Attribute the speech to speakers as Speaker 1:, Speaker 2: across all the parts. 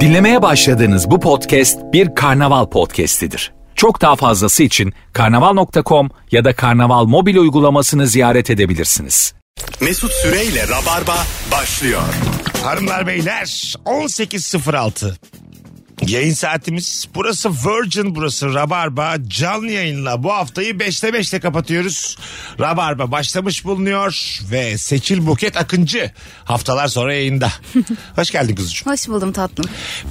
Speaker 1: Dinlemeye başladığınız bu podcast bir karnaval podcastidir. Çok daha fazlası için karnaval.com ya da karnaval mobil uygulamasını ziyaret edebilirsiniz.
Speaker 2: Mesut Süreyle Rabarba başlıyor.
Speaker 3: Hanımlar beyler 18.06 yayın saatimiz. Burası Virgin burası Rabarba canlı yayınla bu haftayı 5'te 5'te kapatıyoruz. Rabarba başlamış bulunuyor ve Seçil Buket Akıncı haftalar sonra yayında. Hoş geldin kuzucuğum.
Speaker 4: Hoş buldum tatlım.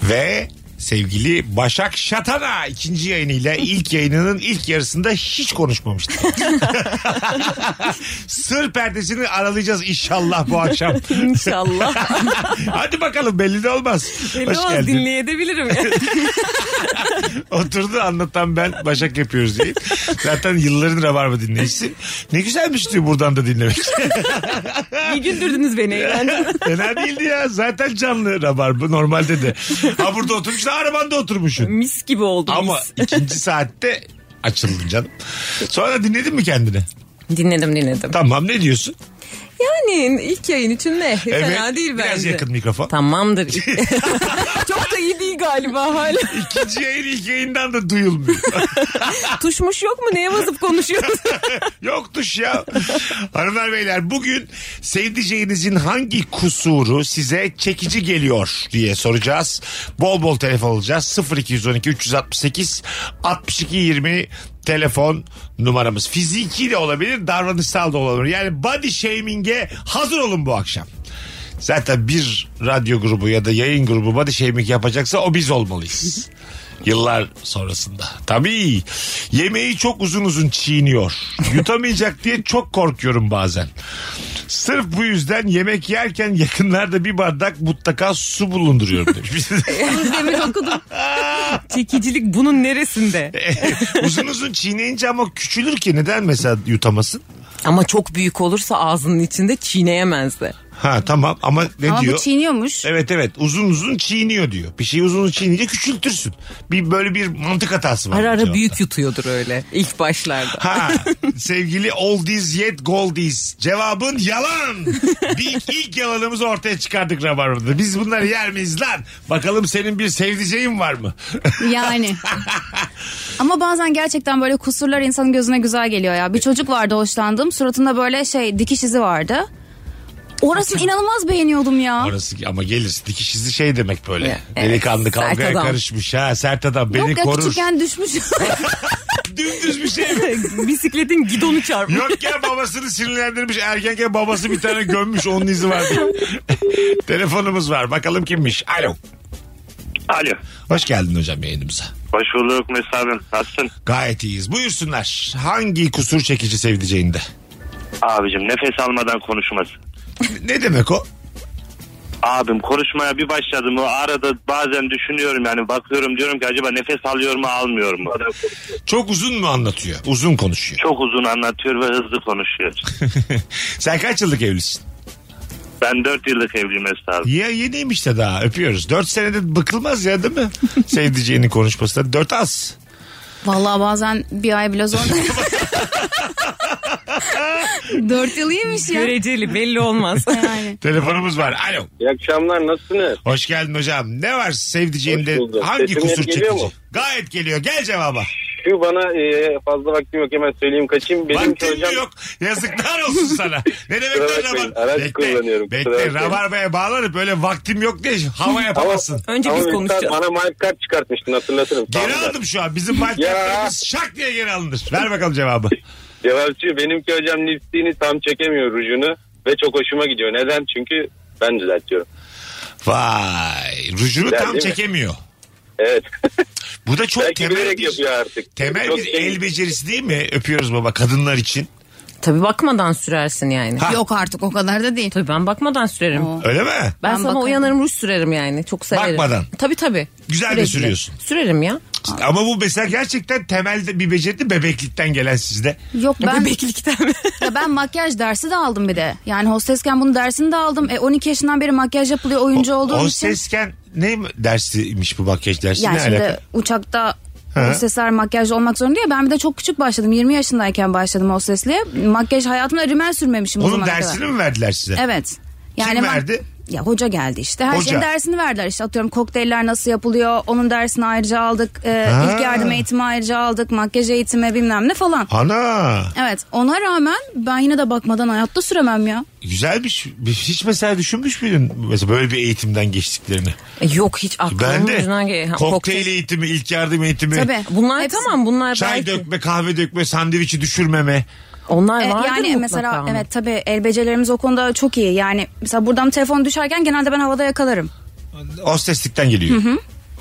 Speaker 3: Ve sevgili Başak Şatana ikinci yayınıyla ilk yayınının ilk yarısında hiç konuşmamıştı. Sır perdesini aralayacağız inşallah bu akşam.
Speaker 5: İnşallah.
Speaker 3: Hadi bakalım belli de olmaz.
Speaker 5: Belli
Speaker 3: Hoş
Speaker 5: olmaz
Speaker 3: geldin.
Speaker 5: dinleyebilirim.
Speaker 3: Oturdu anlatan ben Başak yapıyoruz diye. Zaten yılların rabarba dinleyicisi. Ne güzelmiş diyor buradan da dinlemek.
Speaker 5: İyi güldürdünüz beni. eğlendim.
Speaker 3: Fena değildi ya. Zaten canlı rabarba normalde de. Ha burada oturmuşsun arabanda oturmuşsun.
Speaker 5: Mis gibi oldu
Speaker 3: Ama
Speaker 5: mis.
Speaker 3: ikinci saatte açıldın canım. Sonra dinledin mi kendini?
Speaker 5: Dinledim dinledim.
Speaker 3: Tamam ne diyorsun?
Speaker 5: Yani ilk yayın için ne? Fena değil
Speaker 3: biraz
Speaker 5: bence.
Speaker 3: yakın mikrofon.
Speaker 5: Tamamdır. Çok da iyi değil galiba hala.
Speaker 3: İkinci yayın ilk yayından da duyulmuyor.
Speaker 5: Tuşmuş yok mu? Neye basıp konuşuyoruz?
Speaker 3: Yoktuş ya. Hanımlar beyler bugün sevdiceğinizin hangi kusuru size çekici geliyor diye soracağız. Bol bol telefon alacağız. 0212 368 62 20 telefon numaramız. Fiziki de olabilir, davranışsal da olabilir. Yani body shaming'e hazır olun bu akşam. Zaten bir radyo grubu ya da yayın grubu body shaming yapacaksa o biz olmalıyız. Yıllar sonrasında. Tabii yemeği çok uzun uzun çiğniyor. Yutamayacak diye çok korkuyorum bazen. Sırf bu yüzden yemek yerken yakınlarda bir bardak mutlaka su bulunduruyorum demiş.
Speaker 5: Demin okudum. Çekicilik bunun neresinde?
Speaker 3: uzun uzun çiğneyince ama küçülür ki neden mesela yutamasın?
Speaker 5: Ama çok büyük olursa ağzının içinde çiğneyemez de.
Speaker 3: Ha tamam ama ne
Speaker 4: Ama
Speaker 3: diyor?
Speaker 4: bu çiğniyormuş.
Speaker 3: Evet evet uzun uzun çiğniyor diyor. Bir şeyi uzun uzun çiğnince küçültürsün. Bir böyle bir mantık hatası var.
Speaker 5: Ara
Speaker 3: bu
Speaker 5: ara
Speaker 3: cevapta.
Speaker 5: büyük yutuyordur öyle ilk başlarda.
Speaker 3: Ha sevgili oldies yet goldies. Cevabın yalan. Bir ilk yalanımızı ortaya çıkardık Rabarba'da. Biz bunları yer miyiz lan? Bakalım senin bir sevdiceğin var mı?
Speaker 4: Yani. Ama bazen gerçekten böyle kusurlar insanın gözüne güzel geliyor ya.
Speaker 3: E-
Speaker 4: Bir çocuk vardı hoşlandığım. Suratında böyle şey dikiş izi vardı. Orasını inanılmaz beğeniyordum ya.
Speaker 3: Orası ama gelir. Dikiş izi şey demek böyle.
Speaker 5: Evet,
Speaker 3: Delikanlı kavgaya
Speaker 5: sert adam.
Speaker 3: karışmış ha. Sert adam beni
Speaker 4: Yok ya
Speaker 3: korur.
Speaker 4: küçükken düşmüş.
Speaker 3: Dümdüz bir şey.
Speaker 5: Bisikletin gidonu çarpmış.
Speaker 3: Yok ya babasını sinirlendirmiş. Erkenken babası bir tane gömmüş onun izi var diye. Telefonumuz var. Bakalım kimmiş. Alo.
Speaker 6: Alo.
Speaker 3: Hoş geldin hocam yayınımıza.
Speaker 6: Hoş bulduk Mesut abim. Nasılsın?
Speaker 3: Gayet iyiyiz. Buyursunlar. Hangi kusur çekici sevdiceğinde?
Speaker 6: Abicim nefes almadan konuşması.
Speaker 3: Ne demek o?
Speaker 6: Abim konuşmaya bir başladım. O arada bazen düşünüyorum yani bakıyorum diyorum ki acaba nefes alıyor mu almıyor mu?
Speaker 3: Çok uzun mu anlatıyor? Uzun konuşuyor.
Speaker 6: Çok uzun anlatıyor ve hızlı konuşuyor.
Speaker 3: Sen kaç yıllık evlisin?
Speaker 6: Ben 4 yıllık evliyim Mesut abi.
Speaker 3: Ya yeniymiş de daha öpüyoruz. 4 senede bıkılmaz ya değil mi? Sevdiceğinin konuşmasında 4 az.
Speaker 4: Vallahi bazen bir ay bile zor. Dört yıl iyiymiş ya.
Speaker 5: Göreceli belli olmaz.
Speaker 4: Yani.
Speaker 3: Telefonumuz var. Alo.
Speaker 7: İyi akşamlar nasılsınız?
Speaker 3: Hoş geldin hocam. Ne var sevdiceğinde
Speaker 7: Hoş bulduk.
Speaker 3: hangi
Speaker 7: Sesim
Speaker 3: kusur
Speaker 7: net geliyor
Speaker 3: çekici?
Speaker 7: mu?
Speaker 3: Gayet geliyor. Gel cevaba.
Speaker 7: Şu bana e, fazla vaktim yok hemen söyleyeyim kaçayım. Benim
Speaker 3: Vaktin mi yok? Yazıklar olsun sana. Ne demek
Speaker 7: Kusura
Speaker 3: lan
Speaker 7: bakmayın,
Speaker 3: rabar?
Speaker 7: araç kullanıyorum,
Speaker 3: Bekle,
Speaker 7: kusura
Speaker 3: bekle.
Speaker 7: bakmayın.
Speaker 3: Rabarbaya bağlanıp böyle vaktim yok diye hava yapamazsın.
Speaker 5: Önce biz
Speaker 7: Ama
Speaker 5: konuşacağız.
Speaker 7: üstad bana mic kart çıkartmıştın hatırlatırım.
Speaker 3: Geri
Speaker 7: Tamam da.
Speaker 3: aldım şu an. Bizim marketlerimiz şak diye geri alınır. Ver bakalım cevabı.
Speaker 7: Cevap şu benimki hocam lipstiğini tam çekemiyor rujunu ve çok hoşuma gidiyor. Neden? Çünkü ben düzeltiyorum.
Speaker 3: Vay. Rujunu
Speaker 7: Güzel
Speaker 3: tam
Speaker 7: değil mi?
Speaker 3: çekemiyor.
Speaker 7: Evet.
Speaker 3: Bu da çok
Speaker 7: Belki
Speaker 3: temel
Speaker 7: bilerek
Speaker 3: bir,
Speaker 7: yapıyor artık.
Speaker 3: temel
Speaker 7: Çok
Speaker 3: bir
Speaker 7: şey-
Speaker 3: el becerisi değil mi? Öpüyoruz baba kadınlar için.
Speaker 5: Tabii bakmadan sürersin yani.
Speaker 3: Ha.
Speaker 4: Yok artık o kadar da değil.
Speaker 5: Tabii ben bakmadan sürerim.
Speaker 4: Oo.
Speaker 3: Öyle mi?
Speaker 5: Ben,
Speaker 4: Ben
Speaker 5: sana
Speaker 4: bakarım.
Speaker 5: uyanırım ruj sürerim yani. Çok severim.
Speaker 3: Bakmadan.
Speaker 5: Tabii tabii.
Speaker 3: Güzel de
Speaker 5: Sürekli.
Speaker 3: sürüyorsun.
Speaker 5: Sürerim ya.
Speaker 3: Ama bu mesela gerçekten temelde bir beceri de bebeklikten gelen sizde.
Speaker 4: Yok ben
Speaker 5: Bebeklikten mi?
Speaker 4: Ya ben makyaj dersi de aldım bir de. Yani hostesken bunun dersini de aldım. E 12 yaşından beri makyaj yapılıyor oyuncu olduğum
Speaker 3: o
Speaker 4: için.
Speaker 3: sesken ne dersiymiş bu makyaj dersi?
Speaker 4: Yani
Speaker 3: ne
Speaker 4: şimdi
Speaker 3: alaka?
Speaker 4: uçakta
Speaker 3: He.
Speaker 4: hostesler makyaj olmak zorunda ya. Ben bir de çok küçük başladım. 20 yaşındayken başladım hostesliğe. Makyaj hayatımda rimel sürmemişim o
Speaker 3: Onun
Speaker 4: zamana
Speaker 3: dersini
Speaker 4: kadar.
Speaker 3: mi verdiler size?
Speaker 4: Evet.
Speaker 3: Kim
Speaker 4: ben-
Speaker 3: verdi?
Speaker 4: Ya hoca geldi işte. Her
Speaker 3: Hoca.
Speaker 4: şeyin dersini verdiler işte. Atıyorum kokteyller nasıl yapılıyor. Onun dersini ayrıca aldık. Ee,
Speaker 3: Ha.
Speaker 4: ilk yardım eğitimi ayrıca aldık. Makyaj eğitimi bilmem ne falan.
Speaker 3: Ana
Speaker 4: Evet ona rağmen ben yine de bakmadan hayatta süremem ya.
Speaker 3: güzelmiş. Hiç mesela düşünmüş müydün mesela böyle bir eğitimden geçtiklerini?
Speaker 5: E, Yok hiç aklımın
Speaker 3: Ben de
Speaker 5: ucundan gel- Ha,
Speaker 3: kokteyl, eğitimi, ilk yardım eğitimi,
Speaker 4: Tabii.
Speaker 5: Bunlar
Speaker 4: Hepsi-
Speaker 5: tamam bunlar
Speaker 3: çay
Speaker 5: belki.
Speaker 3: dökme, kahve dökme, sandviçi düşürmeme.
Speaker 5: Onlar
Speaker 4: E,
Speaker 5: vardır
Speaker 4: yani
Speaker 5: mutlaka.
Speaker 4: mesela evet tabii el becerilerimiz o konuda çok iyi. Yani mesela buradan telefon düşerken genelde ben havada yakalarım.
Speaker 3: Hosteslikten geliyor.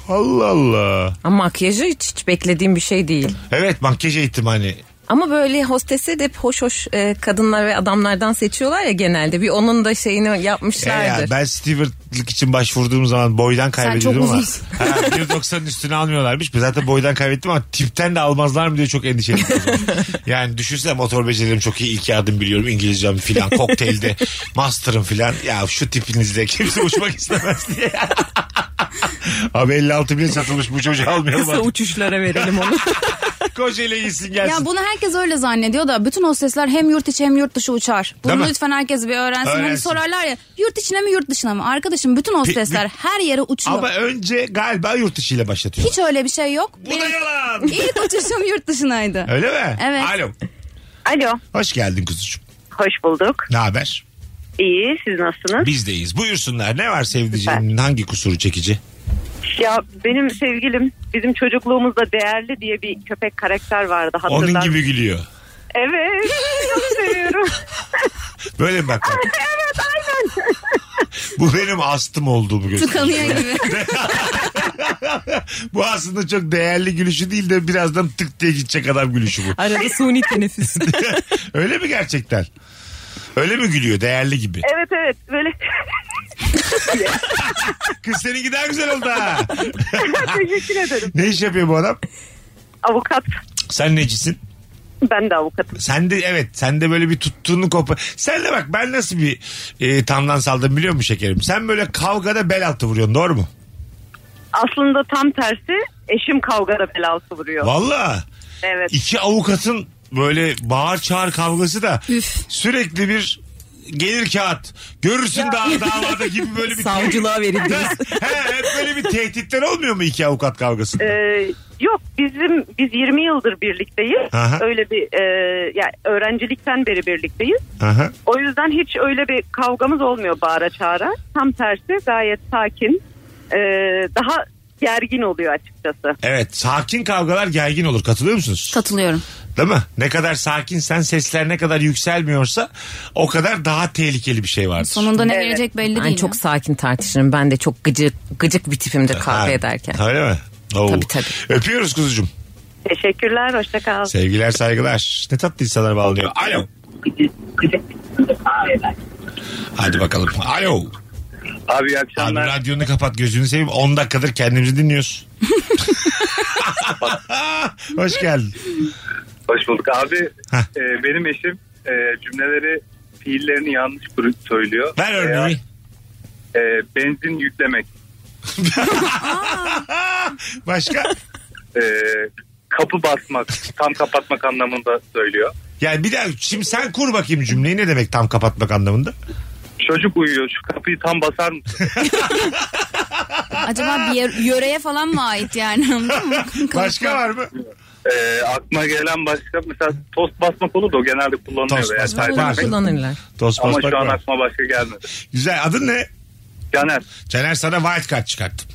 Speaker 3: Allah Allah.
Speaker 5: Ama makyajı hiç, hiç beklediğim bir şey değil.
Speaker 3: Evet makyaj eğitimi hani.
Speaker 5: Ama böyle hostesi de hep hoş hoş e, kadınlar ve adamlardan seçiyorlar ya genelde. Bir onun da şeyini
Speaker 3: E ya,
Speaker 5: yapmışlardır.
Speaker 3: ben Stewart'lık için başvurduğum zaman boydan kaybediyorum
Speaker 4: çok
Speaker 3: ama.
Speaker 4: uzunsun.
Speaker 3: Ha, 1.90'ın üstüne almıyorlarmış. Ben zaten boydan kaybettim ama tipten de almazlar mı diye çok endişeliyim. o zaman. yani düşünsene motor becerilerim çok iyi. ilk yardım biliyorum. İngilizcem filan. Kokteylde. Master'ım filan. Ya şu tipinizle kimse uçmak istemez diye. Abi 56 bin satılmış bu çocuğu almayalım
Speaker 5: Kısa
Speaker 3: artık.
Speaker 5: uçuşlara verelim onu.
Speaker 3: Kocaeli gitsin gelsin.
Speaker 4: Ya bunu herkes öyle zannediyor da bütün hostesler hem yurt içi hem yurt dışı uçar.
Speaker 3: Değil
Speaker 4: Bunu
Speaker 3: mi?
Speaker 4: lütfen herkes bir öğrensin. Hani
Speaker 3: Öğrensin.
Speaker 4: sorarlar ya yurt içine mi yurt dışına mı? Arkadaşım bütün hostesler
Speaker 3: bir-
Speaker 4: her yere uçuyor.
Speaker 3: Ama önce galiba yurt içiyle başlatıyor.
Speaker 4: Hiç öyle bir şey yok.
Speaker 3: Bu da yalan.
Speaker 4: ilk uçuşum yurt dışınaydı.
Speaker 3: Öyle mi?
Speaker 4: Evet.
Speaker 3: Alo.
Speaker 8: Alo,
Speaker 3: Hoş geldin kuzucuğum.
Speaker 8: hoş bulduk.
Speaker 3: Ne haber?
Speaker 8: İyi, siz nasılsınız?
Speaker 3: Bizdeyiz. Buyursunlar. Ne var sevdiceğimin hangi kusuru çekici?
Speaker 8: Ya benim sevgilim bizim çocukluğumuzda değerli diye bir köpek karakter vardı hatırlar.
Speaker 3: Onun gibi gülüyor.
Speaker 8: Evet, çok seviyorum.
Speaker 3: Böyle mi bak. bak.
Speaker 8: evet, aynen.
Speaker 3: Bu benim astım olduğumu gösteriyor.
Speaker 4: Tıkanıyor gibi.
Speaker 3: Bu aslında çok değerli gülüşü değil de birazdan tık diye gidecek adam gülüşü bu.
Speaker 5: Arada suni teneffüs.
Speaker 3: Öyle mi gerçekten? Öyle mi gülüyor değerli gibi?
Speaker 8: Evet, evet. Böyle
Speaker 3: Kız seninki daha güzel oldu ha.
Speaker 8: teşekkür ederim.
Speaker 3: ne iş yapıyor bu adam?
Speaker 8: Avukat.
Speaker 3: Sen necisin?
Speaker 8: Ben de avukatım.
Speaker 3: Sen de evet sen de böyle bir tuttuğunu kopar. Sen de bak ben nasıl bir e, tamdan saldım biliyor musun şekerim? Sen böyle kavgada bel altı vuruyorsun doğru mu?
Speaker 8: Aslında tam tersi eşim kavgada belası vuruyor.
Speaker 3: Valla
Speaker 8: Evet.
Speaker 3: iki avukatın böyle bağır çağır kavgası da
Speaker 4: Üf.
Speaker 3: sürekli bir gelir kağıt görürsün daha davada gibi böyle bir
Speaker 5: Savcılığa verildiniz.
Speaker 3: He, hep böyle bir tehditler olmuyor mu iki avukat kavgası?
Speaker 8: Ee, yok bizim biz 20 yıldır birlikteyiz.
Speaker 3: Aha.
Speaker 8: Öyle bir e, yani öğrencilikten beri birlikteyiz.
Speaker 3: Aha.
Speaker 8: O yüzden hiç öyle bir kavgamız olmuyor bağıra çağıra. Tam tersi gayet sakin. Ee, daha gergin oluyor açıkçası.
Speaker 3: Evet sakin kavgalar gergin olur katılıyor musunuz?
Speaker 4: Katılıyorum.
Speaker 3: Değil mi? Ne kadar sakinsen sesler ne kadar yükselmiyorsa o kadar daha tehlikeli bir şey vardır.
Speaker 4: Sonunda ne
Speaker 8: Evet.
Speaker 4: verecek belli
Speaker 5: Ben
Speaker 4: değil.
Speaker 5: çok
Speaker 4: ya.
Speaker 5: sakin tartışırım. Ben de çok gıcık, gıcık bir tipimdir kahve
Speaker 3: Ha,
Speaker 5: ederken.
Speaker 3: Öyle mi? Oo.
Speaker 5: Tabii, tabii.
Speaker 3: Öpüyoruz kuzucuğum.
Speaker 8: Teşekkürler, hoşça kal.
Speaker 3: Sevgiler saygılar. Ne tatlı insanlar bağlanıyor. Alo. Hadi bakalım. Alo.
Speaker 7: Abi iyi
Speaker 3: Abi
Speaker 7: akşamlar.
Speaker 3: radyonu kapat gözünü seveyim. 10 dakikadır kendimizi dinliyoruz. Hoş geldin.
Speaker 7: Hoş bulduk abi.
Speaker 3: Heh.
Speaker 7: e, benim eşim e, cümleleri fiillerini yanlış kur- söylüyor.
Speaker 3: Ver örneği.
Speaker 7: Veya, e, benzin yüklemek.
Speaker 3: Başka?
Speaker 7: e, kapı basmak. Tam kapatmak anlamında söylüyor.
Speaker 3: Yani bir daha şimdi sen kur bakayım cümleyi ne demek tam kapatmak anlamında?
Speaker 7: Çocuk uyuyor şu kapıyı tam basar mısın?
Speaker 4: Acaba bir yer- yöreye falan mı ait yani? anladın mı?
Speaker 3: Başka var mı?
Speaker 7: E, aklıma gelen başka mesela tost basmak olur da o genelde kullanılıyor.
Speaker 3: Tost
Speaker 7: veya
Speaker 3: basmak
Speaker 7: çay
Speaker 5: Bunu
Speaker 3: var.
Speaker 7: demlemek.
Speaker 5: kullanırlar.
Speaker 3: Tost
Speaker 7: Ama
Speaker 3: basmak
Speaker 7: şu an
Speaker 3: var.
Speaker 7: aklıma başka gelmedi.
Speaker 3: Güzel adın ne?
Speaker 7: Caner
Speaker 3: Caner sana white card çıkarttım.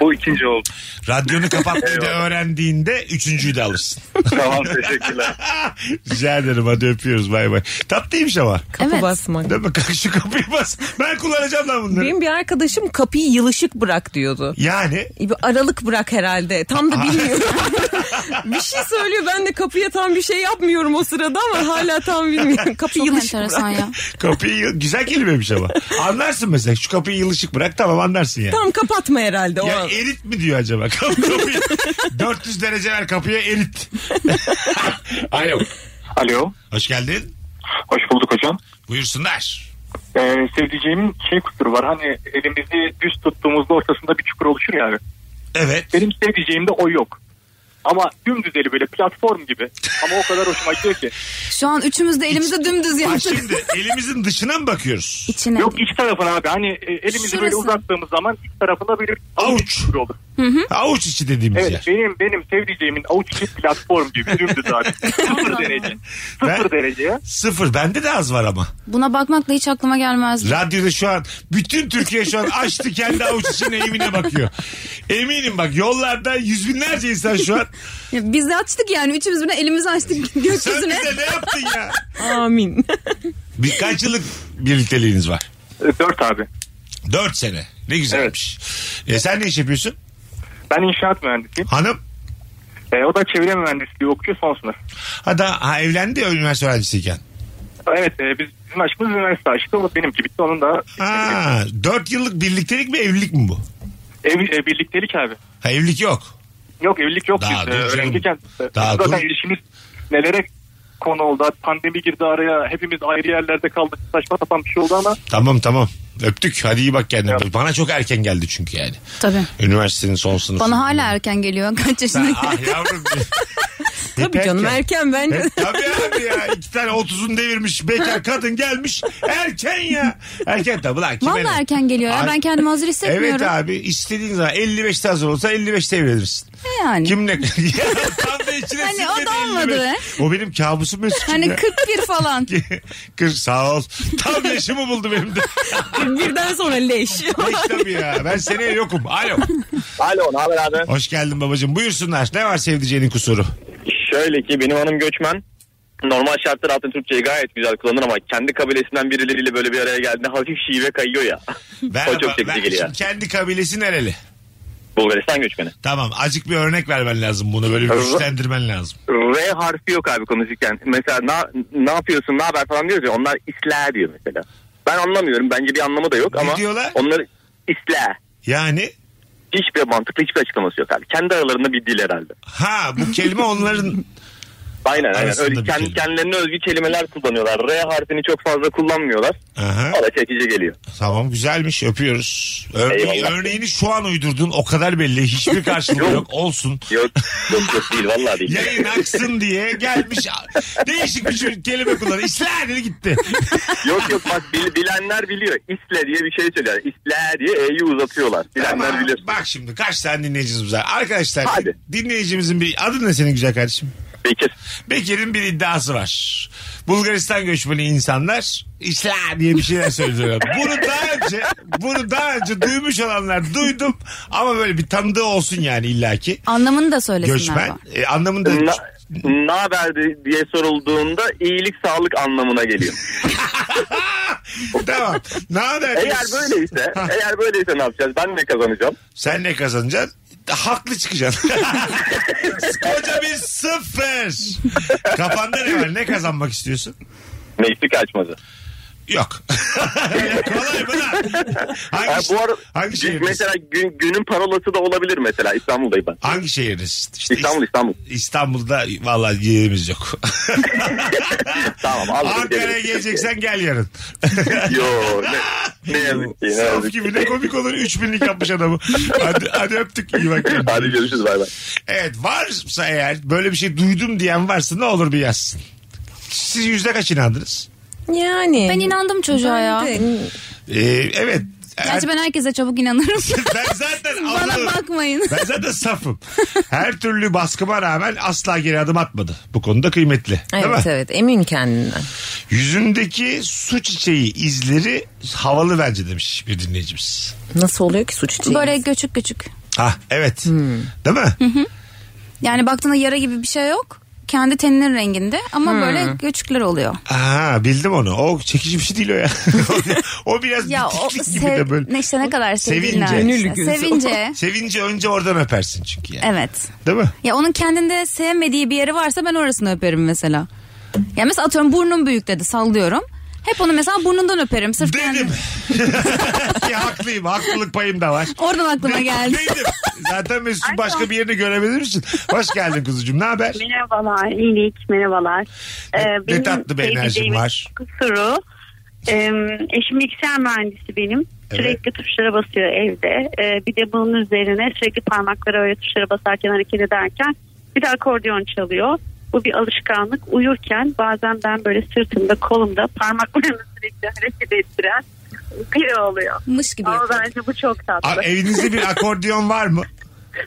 Speaker 7: bu ikinci oldu.
Speaker 3: Radyonu kapatmayı da
Speaker 7: Eyvallah.
Speaker 3: öğrendiğinde üçüncüyü de alırsın.
Speaker 7: tamam teşekkürler.
Speaker 3: Rica ederim hadi öpüyoruz bay bay. Tatlıymış ama.
Speaker 5: Kapı
Speaker 4: Evet.
Speaker 5: basmak.
Speaker 3: Değil mi? Kalk şu kapıyı bas. Ben kullanacağım lan bunları.
Speaker 5: Benim bir arkadaşım kapıyı yılışık bırak diyordu.
Speaker 3: Yani
Speaker 5: E, Bir aralık bırak herhalde. Tam da bilmiyorum. bir şey söylüyor. Ben de kapıya tam bir şey yapmıyorum o sırada ama hala tam bilmiyorum. Kapı
Speaker 4: Çok
Speaker 5: yılışık
Speaker 4: enteresan
Speaker 5: bırak.
Speaker 4: ya.
Speaker 3: kapıyı güzel kelimemiş ama. Anlarsın mesela şu kapıyı yılışık bırak tamam anlarsın yani.
Speaker 5: Tam kapatma herhalde o
Speaker 3: Ya e-
Speaker 5: an.
Speaker 3: erit mi diyor acaba? Kapı- kapıyı 400 derece ver kapıya erit. Alo.
Speaker 9: Alo.
Speaker 3: Hoş geldin.
Speaker 9: Hoş bulduk hocam.
Speaker 3: Buyursunlar.
Speaker 9: Ee, sevdiceğimin şey kusuru var. Hani elimizi düz tuttuğumuzda ortasında bir çukur oluşur yani.
Speaker 3: Evet.
Speaker 9: Benim sevdiceğimde o yok. Ama dümdüz eli böyle platform gibi. Ama o kadar hoşuma gidiyor ki.
Speaker 4: Şu an üçümüz de elimizi dümdüz
Speaker 3: Bak
Speaker 4: yaptık.
Speaker 3: şimdi elimizin dışına mı bakıyoruz?
Speaker 4: İçine.
Speaker 9: Yok iç tarafına abi. Hani e, elimizi böyle
Speaker 4: Şurası.
Speaker 9: uzattığımız zaman iç tarafında böyle bir
Speaker 3: Avuç.
Speaker 9: gibi olur.
Speaker 3: Avuç içi dediğimiz
Speaker 9: Evet
Speaker 3: yer.
Speaker 9: benim benim sevdiceğimin avuç içi platform gibi dümdüz abi. Sıfır derece. Sıfır
Speaker 3: Ben-
Speaker 9: derece.
Speaker 3: Sıfır. Bende de az var ama.
Speaker 4: Buna bakmakla hiç aklıma gelmezdi.
Speaker 3: Radyoda şu an bütün Türkiye şu an açtı kendi avuç içine evine bakıyor. Eminim bak yollarda yüz binlerce insan şu an.
Speaker 4: Ya Biz de açtık yani üçümüz bile elimizi açtık
Speaker 3: Sen
Speaker 4: gökyüzüne.
Speaker 3: bize ne yaptın ya?
Speaker 5: Amin.
Speaker 3: Bir kaç yıllık birlikteliğiniz var?
Speaker 9: E, Dört abi.
Speaker 3: Dört sene. Ne güzelmiş. E sen ne iş yapıyorsun?
Speaker 9: Ben inşaat mühendisiyim.
Speaker 3: Hanım?
Speaker 9: E, o da çevre mühendisliği okuyor son sınıf.
Speaker 3: Ha da ha, evlendi ya üniversite öğrencisiyken.
Speaker 9: Evet e, biz, bizim aşkımız üniversite aşkı. O benimki bitti. Onun da
Speaker 3: Ha, dört yıllık birliktelik mi evlilik mi bu?
Speaker 9: ev, e, birliktelik abi.
Speaker 3: Ha, evlilik yok.
Speaker 9: Yok evlilik yok.
Speaker 3: Daha
Speaker 9: biz,
Speaker 3: dur
Speaker 9: e,
Speaker 3: canım.
Speaker 9: öğrenciyken e,
Speaker 3: Daha
Speaker 9: zaten
Speaker 3: dur.
Speaker 9: ilişkimiz nelere konu oldu. Pandemi girdi araya. Hepimiz ayrı yerlerde kaldık. Saçma sapan bir şey oldu ama
Speaker 3: Tamam tamam. Öptük. Hadi iyi bak kendine. Bana çok erken geldi çünkü yani.
Speaker 4: Tabii.
Speaker 3: Üniversitenin son sınıfı.
Speaker 4: Bana hala erken geliyor. Kaç
Speaker 3: Sen-
Speaker 4: yaşındaki?
Speaker 3: ah yavrum.
Speaker 5: Tabii canım erken bence.
Speaker 3: E, tabii abi ya. iki tane otuzun devirmiş bekar kadın gelmiş. Erken ya. Erken tabii lan. kime ne?
Speaker 4: Vallahi erken geliyor ya.
Speaker 3: Ay-
Speaker 4: Ben kendimi hazır hissetmiyorum.
Speaker 3: Evet ah, abi istediğin zaman 55'te hazır olsa 55'te evlenirsin.
Speaker 4: Ne yani?
Speaker 3: Kim ne? Ya, Tam da içine
Speaker 4: Hani o da
Speaker 3: sinmedi
Speaker 4: olmadı
Speaker 3: 55.
Speaker 4: be.
Speaker 3: O benim kabusum Mesut'um
Speaker 4: Hani
Speaker 3: ya.
Speaker 4: 41 falan.
Speaker 3: Kır sağ ol. Tam yaşımı buldu benim de.
Speaker 5: Birden sonra leş.
Speaker 3: Hiç tabii ya. Ben seneye yokum. Alo.
Speaker 7: Alo ne haber abi?
Speaker 3: Hoş geldin babacığım. Buyursunlar. Ne var sevdiceğinin kusuru?
Speaker 7: Şöyle ki benim hanım göçmen. Normal şartlar altında Türkçeyi gayet güzel kullanır ama kendi kabilesinden birileriyle böyle bir araya geldiğinde hafif şive kayıyor ya.
Speaker 3: Ben,
Speaker 7: o çok
Speaker 3: ben
Speaker 7: çekici geliyor.
Speaker 3: şimdi kendi kabilesi nereli?
Speaker 7: Bulgaristan göçmeni.
Speaker 3: Tamam. Azıcık bir örnek vermen lazım bunu. Böyle bir
Speaker 7: Evet.
Speaker 3: güçlendirmen lazım.
Speaker 7: R harfi yok abi konuşurken. Mesela ne, ne yapıyorsun ne haber falan diyoruz ya onlar isla diyor mesela. Ben anlamıyorum bence bir anlamı da yok
Speaker 3: Ne
Speaker 7: ama
Speaker 3: diyorlar?
Speaker 7: onları isla.
Speaker 3: Yani
Speaker 7: Hiçbir mantıklı hiçbir açıklaması yok abi. Kendi aralarında bir dil herhalde.
Speaker 3: ha bu kelime onların
Speaker 7: Aynen aynen.
Speaker 3: Arasında
Speaker 7: Öyle
Speaker 3: bir
Speaker 7: kendi,
Speaker 3: kelime.
Speaker 7: kendilerine özgü kelimeler kullanıyorlar. R harfini çok fazla kullanmıyorlar.
Speaker 3: Aha.
Speaker 7: O da çekici geliyor.
Speaker 3: Tamam güzelmiş öpüyoruz. Örneği-
Speaker 7: Eyvallah.
Speaker 3: örneğini şu an uydurdun o kadar belli. Hiçbir karşılığı yok.
Speaker 7: Yok.
Speaker 3: Olsun.
Speaker 7: Yok yok yok değil vallahi değil.
Speaker 3: Yayın aksın diye gelmiş. Değişik bir şey- kelime kullanıyor. İslah dedi gitti.
Speaker 7: yok yok bak bil- bilenler biliyor. İsle diye bir şey söylüyorlar. İsle diye E'yi uzatıyorlar. Bilenler
Speaker 3: Tamam,
Speaker 7: bilir.
Speaker 3: Bak şimdi kaç tane dinleyicimiz var. Arkadaşlar
Speaker 7: Hadi.
Speaker 3: dinleyicimizin bir adı ne senin güzel kardeşim?
Speaker 7: Bekir.
Speaker 3: Bekir'in bir iddiası var. Bulgaristan göçmeni insanlar İslah diye bir şeyler söylüyorlar. Bunu daha önce bunu daha önce duymuş olanlar duydum ama böyle bir tanıdığı olsun yani illaki.
Speaker 4: Anlamını da söylesinler.
Speaker 3: Göçmen
Speaker 4: bana.
Speaker 3: e, anlamında
Speaker 7: Ne haber diye sorulduğunda iyilik sağlık anlamına geliyor.
Speaker 3: tamam. Ne haber?
Speaker 7: eğer böyleyse, eğer böyleyse ne yapacağız? Ben ne kazanacağım?
Speaker 3: Sen ne kazanacaksın? Haklı çıkacaksın. Koca bir sıfır. Kafanda ne var? Ne kazanmak istiyorsun?
Speaker 7: Meksika açmazı.
Speaker 3: Yok. Kolay mı lan? Hangi,
Speaker 7: Ha, bu arada
Speaker 3: hangi şehirdesin?
Speaker 7: mesela gün, günün parolası da olabilir mesela İstanbul'dayım ben.
Speaker 3: Hangi şehirdesin? İşte
Speaker 7: İstanbul
Speaker 3: İst-
Speaker 7: İstanbul.
Speaker 3: İstanbul'da vallahi yerimiz yok.
Speaker 7: Tamam aldım.
Speaker 3: Ankara'ya geleceksen gel yarın.
Speaker 7: Yo ne, ne yazık ki ne
Speaker 3: Saf
Speaker 7: yazık
Speaker 3: gibi
Speaker 7: ki.
Speaker 3: ne komik olur. 3000'lik yapmış adamı. Hadi, hadi öptük. iyi bak. kendine.
Speaker 7: Hadi görüşürüz bay bay.
Speaker 3: Evet varsa eğer böyle bir şey duydum diyen varsa ne olur bir yazsın. Siz yüzde kaç inandınız?
Speaker 5: Yani.
Speaker 4: Ben inandım çocuğa ya.
Speaker 5: Ben de.
Speaker 3: Ee, evet.
Speaker 4: Gerçi ben herkese çabuk inanırım.
Speaker 3: Ben zaten
Speaker 4: Bana
Speaker 3: Er- anladım.
Speaker 4: bakmayın.
Speaker 3: Ben zaten safım. Her türlü baskıma rağmen asla geri adım atmadı. Bu konuda kıymetli. Değil mi?
Speaker 5: Evet evet emin kendinden.
Speaker 3: Yüzündeki su çiçeği izleri havalı bence demiş bir dinleyicimiz.
Speaker 5: Nasıl oluyor ki suç için?
Speaker 4: Böyle göçük göçük.
Speaker 3: Ah evet.
Speaker 4: Hmm.
Speaker 3: Değil mi?
Speaker 4: Yani baktığında yara gibi bir şey yok. Kendi teninin renginde ama böyle göçükler oluyor.
Speaker 3: Aha bildim onu. O çekici bir şey değil o ya. o biraz
Speaker 4: Ya o
Speaker 3: bitiklik gibi de
Speaker 4: sev,
Speaker 3: böyle.
Speaker 4: ne işte ne kadar sevdiğinle.
Speaker 3: Sevince.
Speaker 4: alakası.
Speaker 5: Gönül gözü.
Speaker 4: Sevince.
Speaker 3: Sevince önce oradan öpersin çünkü yani.
Speaker 4: evet.
Speaker 3: Değil mi?
Speaker 4: Ya onun kendinde sevmediği bir yeri varsa ben orasını öperim mesela. Ya mesela atıyorum burnum büyük dedi sallıyorum. Hep onu mesela burnundan öperim. Sırf kendi.
Speaker 3: Dedim. ya haklıyım. Haklılık payım da var.
Speaker 4: Oradan aklıma geldi.
Speaker 3: Dedim. Zaten Mesut'un başka bir yerini görebilir misin? Hoş geldin kuzucuğum. Ne haber?
Speaker 8: Merhabalar, iyilik, merhabalar. Ee,
Speaker 3: Ne- ne tatlı bir enerjin var.
Speaker 8: Kusuru. Ee, eşim bilgisayar mühendisi benim.
Speaker 3: Evet.
Speaker 8: Sürekli tuşlara basıyor evde. Ee, bir de bunun üzerine sürekli parmakları öyle tuşlara basarken hareket ederken Bir de akordeon çalıyor. Bu bir alışkanlık. Uyurken bazen ben böyle sırtımda, kolumda parmaklarımı sürekli hareket ettiren biri oluyor.
Speaker 4: Mış gibi
Speaker 8: Ama
Speaker 4: yapıyor.
Speaker 8: bence bu çok tatlı.
Speaker 3: A- evinizde bir akordeon var mı?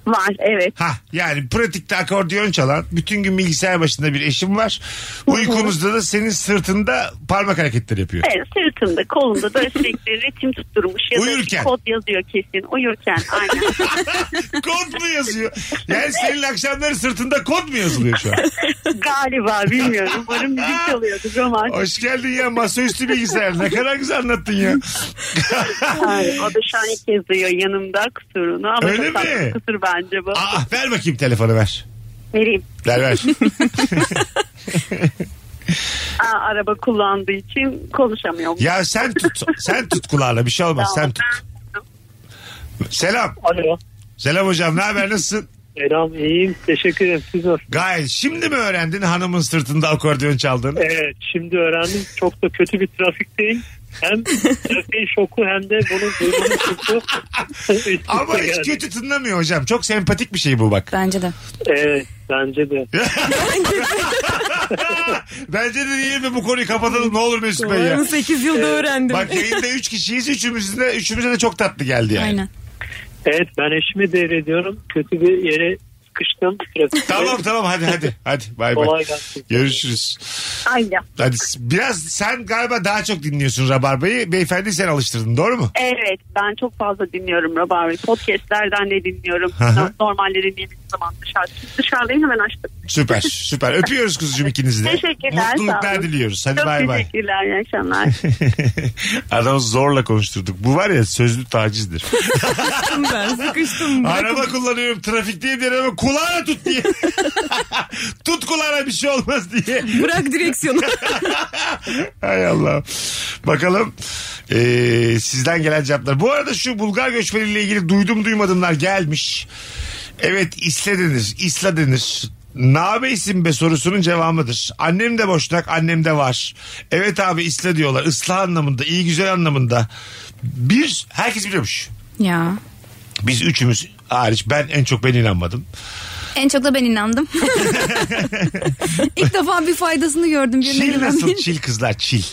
Speaker 8: Var evet.
Speaker 3: Ha yani pratikte akordeon çalan bütün gün bilgisayar başında bir eşim var. Uykunuzda da senin sırtında parmak hareketleri yapıyor.
Speaker 8: Evet, sırtımda, kolumda böyle sürekli ritim tutturmuş ya da bir
Speaker 3: Uyurken.
Speaker 8: kod yazıyor kesin. Uyurken aynen.
Speaker 3: kod mu yazıyor? Yani senin akşamları sırtında kod mu yazılıyor şu an?
Speaker 8: Galiba bilmiyorum. Umarım müzik çalıyordur roman.
Speaker 3: Hoş geldin ya masaüstü bilgisayar. Ne kadar güzel anlattın ya.
Speaker 8: Hayır, o da şu an ilk kez duyuyor yanımda kusurunu ama
Speaker 3: Öyle
Speaker 8: çok tatlı
Speaker 3: mi?
Speaker 8: kusur bence bu.
Speaker 3: Aa, ver bakayım telefonu ver.
Speaker 8: Vereyim.
Speaker 3: Ver ver.
Speaker 8: Aa, araba kullandığı için konuşamıyorum.
Speaker 3: Ya sen tut. Sen tut kulağına bir şey olmaz. Sen tut. Selam.
Speaker 9: Alo.
Speaker 3: Selam hocam ne haber nasılsın?
Speaker 9: Selam iyiyim. Teşekkür ederim. Siz nasılsınız?
Speaker 3: Gayet şimdi mi öğrendin hanımın sırtında akordeon çaldığını?
Speaker 9: Evet şimdi öğrendim. Çok da kötü bir trafikteyim. Hem trafiğin şoku hem de bunun duymanın şoku. şey Üst
Speaker 3: Ama
Speaker 9: üste
Speaker 3: hiç
Speaker 9: geldi.
Speaker 3: kötü tınlamıyor hocam. Çok sempatik bir şey bu bak.
Speaker 4: Bence de.
Speaker 9: Evet bence de.
Speaker 3: Bence de diyelim mi bu konuyu kapatalım ne olur Mesut Bey ya. Ee,
Speaker 5: Umarım 8 yılda öğrendim.
Speaker 3: Bak yayında 3 kişiyiz. Üçümüzün de, üçümüze de çok tatlı geldi yani.
Speaker 4: Aynen.
Speaker 9: Evet ben eşimi devrediyorum. Kötü bir yere sıkıştım. Trafikte.
Speaker 3: Tamam tamam hadi hadi. Hadi bay bay.
Speaker 9: Kolay gelsin.
Speaker 3: Görüşürüz.
Speaker 8: Aynen.
Speaker 3: Hadi s- biraz sen galiba daha çok dinliyorsun Rabarba'yı. Beyefendi sen alıştırdın doğru mu?
Speaker 8: Evet ben çok fazla dinliyorum Rabarbe. Podcastlerden de dinliyorum.
Speaker 3: Hı hı.
Speaker 8: Normalde dinlediğim zaman dışarı. Dışarıdayım hemen açtım.
Speaker 3: Süper süper. Öpüyoruz kuzucuğum ikinizi de.
Speaker 8: Teşekkürler, sağ
Speaker 3: Mutluluklar
Speaker 8: olun.
Speaker 3: diliyoruz. Hadi
Speaker 8: Çok
Speaker 3: bay bay.
Speaker 8: teşekkürler. iyi akşamlar.
Speaker 3: Adamı zorla konuşturduk. Bu var ya sözlü tacizdir.
Speaker 5: Sıkıştım ben sıkıştım.
Speaker 3: Araba kullanıyorum trafikteyim diye ama kulağına tut diye. tut kulağına bir şey olmaz diye.
Speaker 5: Bırak direksiyonu.
Speaker 3: Hay Allah. Bakalım eee, sizden gelen cevaplar. Bu arada şu Bulgar göçmeniyle ilgili duydum duymadımlar gelmiş. Evet isle denir. İsla denir. Nabeysin be sorusunun cevabıdır. Annem de boşnak, annem de var. Evet abi isla diyorlar. Islah anlamında, iyi güzel anlamında. Bir, herkes biliyormuş.
Speaker 4: Ya.
Speaker 3: Biz üçümüz hariç ben en çok ben inanmadım.
Speaker 4: En çok da ben inandım. İlk defa bir faydasını gördüm. birine
Speaker 3: Çil nasıl?
Speaker 4: güvenmeyin.
Speaker 3: Çil Er- kızlar çil.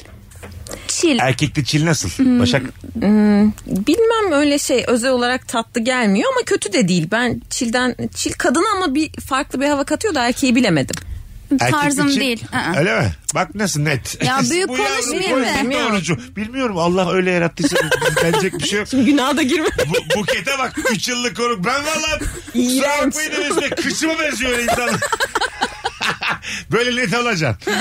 Speaker 4: Çil.
Speaker 3: Erkekte çil nasıl? Başak
Speaker 5: Bilmem öyle şey özel olarak tatlı gelmiyor ama kötü de değil. Ben çilden çil kadın ama bir farklı bir hava katıyor da erkeği bilemedim.
Speaker 3: Erkek
Speaker 4: Tarzım
Speaker 3: için-
Speaker 4: değil. Aa.
Speaker 3: Öyle mi? Bak nasıl net.
Speaker 4: Ya büyük
Speaker 3: Bu yavrum
Speaker 4: konuşmayayım
Speaker 3: boynu
Speaker 4: mı?
Speaker 5: Bilmiyorum.
Speaker 3: doğrucu. Bilmiyorum Allah öyle yarattıysa bence bir şey yok.
Speaker 5: Günaha da girme.
Speaker 3: Bu, bukete bak 3 yıllık konuk. Ben valla kusura
Speaker 5: İğrenç.
Speaker 3: bakmayın demesine kışıma benziyor öyle insanlar. Böyle net alacaksın.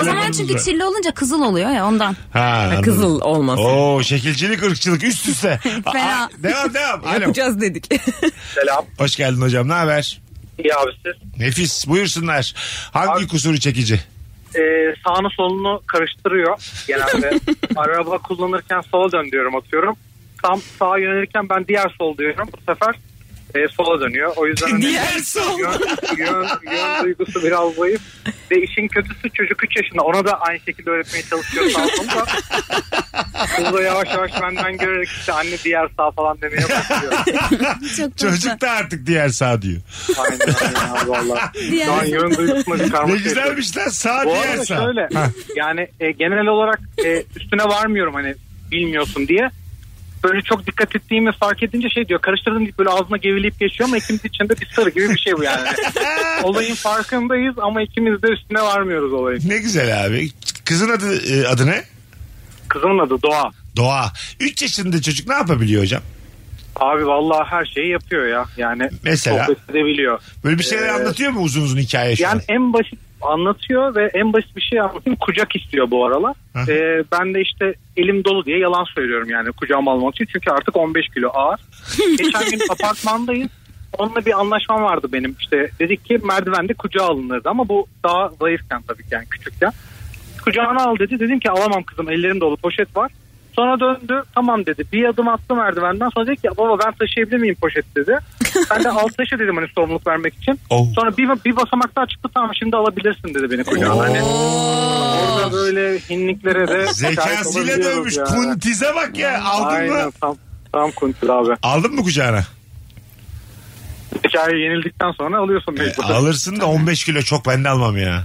Speaker 4: O zaman çünkü çilli olunca kızıl oluyor ya ondan.
Speaker 3: Ha, anladım.
Speaker 5: Kızıl olmaz.
Speaker 3: Oo şekilcilik ırkçılık üst üste.
Speaker 4: Fena.
Speaker 3: Aa, devam devam. Alo.
Speaker 5: Yapacağız dedik.
Speaker 7: Selam.
Speaker 3: Hoş geldin hocam ne haber?
Speaker 7: İyi abi siz.
Speaker 3: Nefis buyursunlar. Hangi
Speaker 9: Abi-
Speaker 3: kusuru çekici?
Speaker 9: Ee, sağını solunu karıştırıyor genelde. Araba kullanırken sola dön diyorum atıyorum. Tam sağa yönelirken ben diğer sol diyorum. Bu sefer e, sola dönüyor. O yüzden hani
Speaker 5: Diğer sol.
Speaker 9: yön, yön, yön duygusu biraz zayıf. Ve işin kötüsü çocuk 3 yaşında. Ona da aynı şekilde öğretmeye çalışıyor sağ olsun da. Kız da yavaş yavaş benden görerek işte anne diğer sağ falan demeye başlıyor.
Speaker 4: Çok tatlı.
Speaker 3: Çocuk da artık diğer sağ diyor.
Speaker 9: Aynen aynen abi valla.
Speaker 4: Diğer
Speaker 9: Şu an yön duygusuna bir karmaşa
Speaker 3: Ne
Speaker 9: yaşıyorum.
Speaker 3: güzelmiş lan sağ
Speaker 9: şey Bu
Speaker 3: diğer
Speaker 9: arada
Speaker 3: sağ.
Speaker 9: şöyle yani e, genel olarak e, üstüne varmıyorum hani bilmiyorsun diye. Böyle çok dikkat ettiğimi fark edince şey diyor karıştırdım deyip böyle ağzına geveleyip geçiyor ama ikimiz için de bir sarı gibi bir şey bu yani. Olayın farkındayız ama ikimiz de üstüne varmıyoruz olayın.
Speaker 3: Ne güzel abi. Kızın adı e, adı ne?
Speaker 9: Kızımın adı Doğa.
Speaker 3: Doğa. 3 yaşında çocuk ne yapabiliyor hocam?
Speaker 9: Abi vallahi her şeyi yapıyor ya. Yani
Speaker 3: Mesela?
Speaker 9: sohbet edebiliyor.
Speaker 3: Böyle bir şeyler
Speaker 9: Ee,
Speaker 3: anlatıyor mu uzun uzun hikaye şu
Speaker 9: Yani
Speaker 3: an?
Speaker 9: en basit anlatıyor ve en basit bir şey anlatayım. Kucak istiyor bu aralar.
Speaker 3: Hı hı.
Speaker 9: Ee, ben de işte elim dolu diye yalan söylüyorum yani kucağıma almak için. Çünkü artık 15 kilo ağır. Geçen gün apartmandayız. Onunla bir anlaşmam vardı benim. İşte dedik ki merdivende kucağa alınırdı ama bu daha zayıfken tabii ki yani küçükken. Kucağına al dedi. Dedim ki alamam kızım ellerim dolu poşet var. Sonra döndü tamam dedi. Bir adım attı merdivenden sonra dedi ki baba ben taşıyabilir miyim poşet dedi. Ben de al taşı dedim hani sorumluluk vermek için.
Speaker 3: Oh.
Speaker 9: Sonra bir, bir basamak daha çıktı tamam şimdi alabilirsin dedi beni kucağına. Hani orada böyle hinliklere de şahit
Speaker 3: Zekasıyla
Speaker 9: olabiliyoruz
Speaker 3: dövmüş.
Speaker 9: yani.
Speaker 3: Kuntize bak ya. Aldın
Speaker 9: Aynen
Speaker 3: mı?
Speaker 9: tam, tam kuntil abi.
Speaker 3: Aldın mı kucağına?
Speaker 9: Hikaye yenildikten sonra alıyorsun
Speaker 3: E,
Speaker 9: mecbur.
Speaker 3: Alırsın da 15 kilo çok ben de almam ya.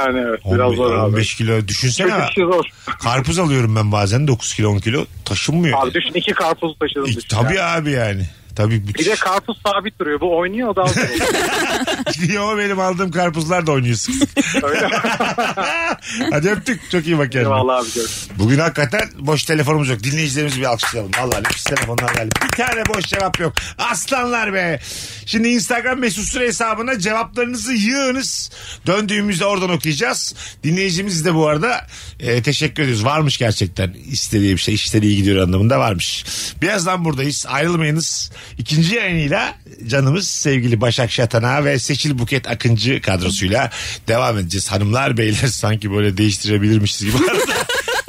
Speaker 9: Yani evet biraz
Speaker 3: 15,
Speaker 9: zor abi.
Speaker 3: 15 kilo düşünsene.
Speaker 9: Çok işi zor.
Speaker 3: Karpuz alıyorum ben bazen 9 kilo 10 kilo taşınmıyor.
Speaker 9: Abi düşün iki karpuz taşıdım
Speaker 3: İlk-
Speaker 9: düşün.
Speaker 3: tabii
Speaker 9: ya.
Speaker 3: abi yani. Tabii
Speaker 9: Bir de karpuz sabit duruyor. Bu oynuyor o da alıyor.
Speaker 3: Niye o benim aldığım karpuzlar da oynuyor sık sık.
Speaker 9: Öyle.
Speaker 3: Hadi öptük. Çok iyi bak kendine.
Speaker 9: Eyvallah abi görüşürüz.
Speaker 3: Bugün hakikaten boş telefonumuz yok. Dinleyicilerimizi bir alkışlayalım. Vallahi nefis telefonlar geldi. Bir tane boş cevap yok. Aslanlar be. Şimdi Instagram mesut süre hesabına cevaplarınızı yığınız. Döndüğümüzde oradan okuyacağız. Dinleyicimiz de bu arada e, teşekkür ediyoruz. Varmış gerçekten istediği bir şey. işleri iyi gidiyor anlamında varmış. Birazdan buradayız. Ayrılmayınız. İkinci yayınıyla canımız sevgili Başak Şatana ve Seçil Buket Akıncı kadrosuyla devam edeceğiz. Hanımlar beyler sanki böyle değiştirebilirmişiz gibi.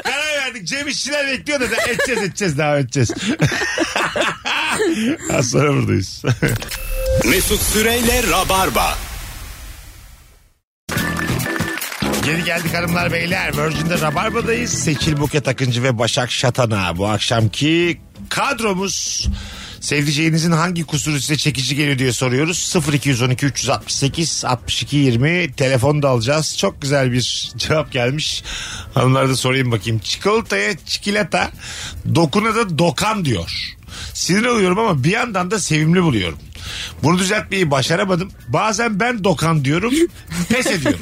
Speaker 3: Karar verdik. Cem işçiler bekliyor da edeceğiz edeceğiz devam edeceğiz. Az sonra buradayız.
Speaker 2: Mesut Süreyle Rabarba.
Speaker 3: Geri geldik hanımlar beyler. Virgin'de Rabarba'dayız. Seçil Buket Akıncı ve Başak Şatana. Bu akşamki kadromuz sevdiceğinizin hangi kusuru size çekici geliyor diye soruyoruz. 0212 368 62 20 telefon da alacağız. Çok güzel bir cevap gelmiş. Hanımlara da sorayım bakayım. Çikolataya çikolata, dokuna da dokan diyor. Sinir oluyorum ama bir yandan da sevimli buluyorum. Bunu düzeltmeyi başaramadım. Bazen ben dokan diyorum, pes ediyorum.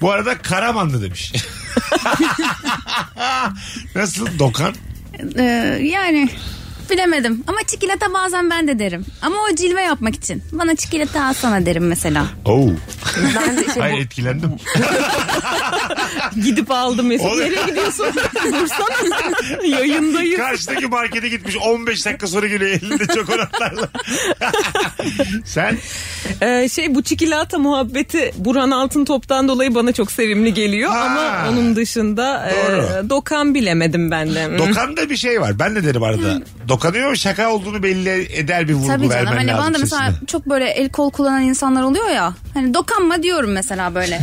Speaker 3: Bu arada Karamanlı demiş. Nasıl dokan?
Speaker 4: Ee, yani bilemedim. Ama çikolata bazen ben de derim. Ama o cilve yapmak için. Bana çikolata alsana derim mesela.
Speaker 3: Oo.
Speaker 5: Ben de işte
Speaker 3: Hayır etkilendim.
Speaker 5: bu- gidip aldım Mesut.
Speaker 3: Oğlum.
Speaker 5: Nereye gidiyorsun? Dursana. Yayındayım.
Speaker 3: Karşıdaki markete gitmiş 15 dakika sonra geliyor elinde çikolatlarla. Sen
Speaker 5: Ee, şey bu çikilata muhabbeti Burhan Altın Top'tan dolayı bana çok sevimli geliyor
Speaker 3: Ha.
Speaker 5: ama onun dışında
Speaker 3: Doğru.
Speaker 5: e, dokan bilemedim ben de.
Speaker 3: dokanda bir şey var. Ben de derim arada. Dokanıyor mu şaka olduğunu belli eder bir vurgu
Speaker 4: Tabii canım.
Speaker 3: vermen
Speaker 4: Hani
Speaker 3: lazım.
Speaker 4: bana da mesela
Speaker 3: sesine.
Speaker 4: çok böyle el kol kullanan insanlar oluyor ya. Hani dokanma diyorum mesela böyle.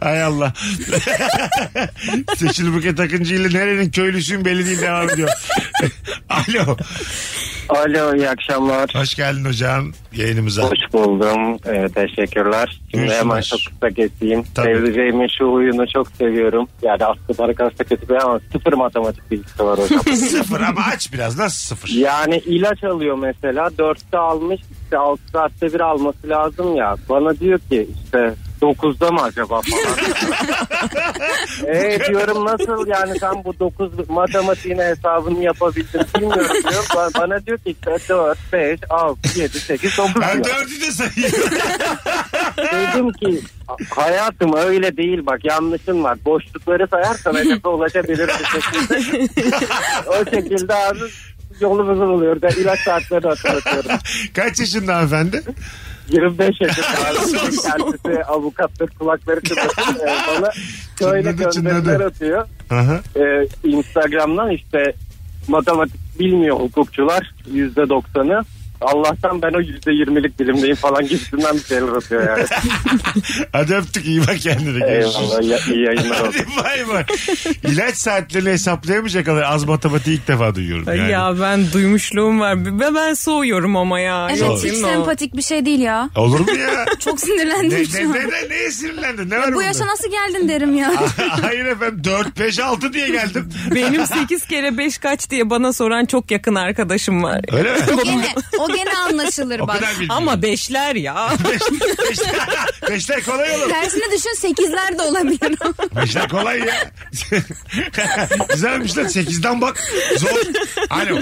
Speaker 3: Hay Allah. Seçil Buket Akıncı ile nerenin köylüsün belli değil devam ediyor. Alo.
Speaker 7: Alo iyi akşamlar.
Speaker 3: Hoş geldin hocam yayınımıza.
Speaker 7: Hoş buldum. Ee, teşekkürler. Şimdi
Speaker 3: Görüşürüz.
Speaker 7: hemen çok kısa keseyim.
Speaker 3: Tabii.
Speaker 7: Sevdiceğimin şu huyunu çok seviyorum. Yani aslında bana kalırsa kötü bir ama sıfır matematik bilgisi var hocam.
Speaker 3: Sıfır ama aç biraz. Nasıl sıfır?
Speaker 7: yani ilaç alıyor mesela. Dörtte almış işte altı saatte bir alması lazım ya. Bana diyor ki işte dokuzda mı acaba falan. Eee diyorum nasıl yani sen bu dokuz matematiğine hesabını yapabildin bilmiyorum diyor. Ba- Bana diyor ki işte dört, beş, altı, yedi, sekiz, dokuz
Speaker 3: Ben
Speaker 7: diyor.
Speaker 3: dördü de sayıyorum.
Speaker 7: Dedim ki hayatım öyle değil bak yanlışın var. Boşlukları sayarsan hedefe ulaşabilir bir şekilde. o şekilde abi yolumuzu buluyoruz. Yani ilaç saatlerini hatırlatıyorum.
Speaker 3: Kaç yaşında hanımefendi?
Speaker 7: 25 yaşında abi. Kendisi avukattır kulakları kıvırcık. Ee, bana şöyle
Speaker 3: Çınladı, çınladı.
Speaker 7: gönderiler atıyor.
Speaker 3: Aha.
Speaker 7: Ee, Instagram'dan işte matematik bilmiyor hukukçular %90'ı. Allah'tan ben o %20'lik dilimdeyim falan gibisinden bir şeyler atıyor yani.
Speaker 3: Hadi öptük iyi bak kendine. Görüşürüz.
Speaker 7: Eyvallah ya- iyi yayınlar olsun.
Speaker 3: Hadi bay bay. İlaç saatlerini hesaplayamayacak kadar az matematiği ilk defa duyuyorum. Yani.
Speaker 5: Ya ben duymuşluğum var. Ben, ben soğuyorum ama ya.
Speaker 4: evet
Speaker 5: Yok,
Speaker 4: hiç
Speaker 5: değil mi o?
Speaker 4: sempatik bir şey değil ya.
Speaker 3: Olur mu ya?
Speaker 4: Çok
Speaker 3: ne,
Speaker 4: sinirlendim şu
Speaker 3: ne,
Speaker 4: an.
Speaker 3: ne, ne, neye sinirlendin? Ne Ah, var
Speaker 4: Bu
Speaker 3: bunda?
Speaker 4: yaşa nasıl geldin derim ya.
Speaker 3: Hayır efendim 4, 5, 6 diye geldim.
Speaker 5: Benim 8 kere 5 kaç diye bana soran çok yakın arkadaşım var.
Speaker 3: Öyle mi?
Speaker 4: o gene, o gene anlaşılır
Speaker 3: O
Speaker 4: bak.
Speaker 3: kadar bilmiyorum.
Speaker 5: Ama beşler ya.
Speaker 3: Beş, beşler, beşler kolay olur.
Speaker 4: Tersine düşün sekizler de olabilir.
Speaker 3: Beşler kolay ya. Güzelmiş lan 8'den bak. Zor. Alo.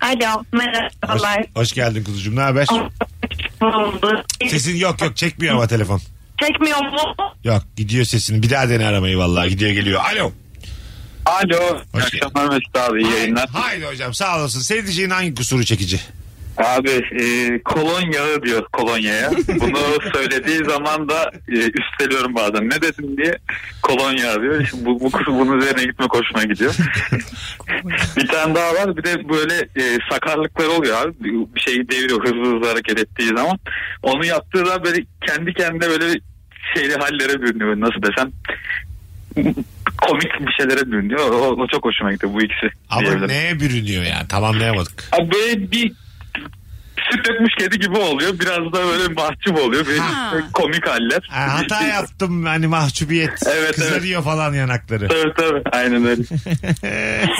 Speaker 10: Alo
Speaker 3: Hoş,
Speaker 10: merhabalar.
Speaker 3: hoş geldin kuzucuğum ne haber?
Speaker 10: Oldu.
Speaker 3: Sesin yok yok çekmiyor ama telefon.
Speaker 10: Çekmiyor mu?
Speaker 3: Yok gidiyor sesin. Bir daha dene aramayı vallahi gidiyor geliyor. Alo.
Speaker 6: Alo.
Speaker 3: Hoş
Speaker 6: İyi
Speaker 3: geldin.
Speaker 6: akşamlar Mesut abi. iyi yayınlar.
Speaker 3: Haydi hocam sağ olasın. Sevdiceğin hangi kusuru çekici?
Speaker 6: Abi e, kolonya diyor kolonyaya. Bunu söylediği zaman da e, üsteliyorum bazen. Ne dedim diye kolonya diyor. Şimdi bu, bu kız bunun üzerine gitmek hoşuma gidiyor. bir tane daha var. Bir de böyle e, sakarlıklar oluyor abi. Bir- Bir şeyi deviriyor hızlı hızlı hareket ettiği zaman. Onu yaptığı da böyle kendi kendine böyle şeyli hallere bürünüyor. Nasıl desem komik bir şeylere bürünüyor. O, o çok hoşuma gitti bu ikisi.
Speaker 3: Ama
Speaker 6: diyebilirim.
Speaker 3: neye bürünüyor ya? Tamamlayamadık.
Speaker 6: Abi böyle bir süt dökmüş kedi gibi oluyor. Biraz da böyle mahcup oluyor. Böyle
Speaker 3: Ha.
Speaker 6: komik haller. şey-
Speaker 3: Ha, hata yaptım hani mahcubiyet.
Speaker 6: Evet,
Speaker 3: Kızarıyor falan yanakları.
Speaker 6: Tabii tabii aynen öyle.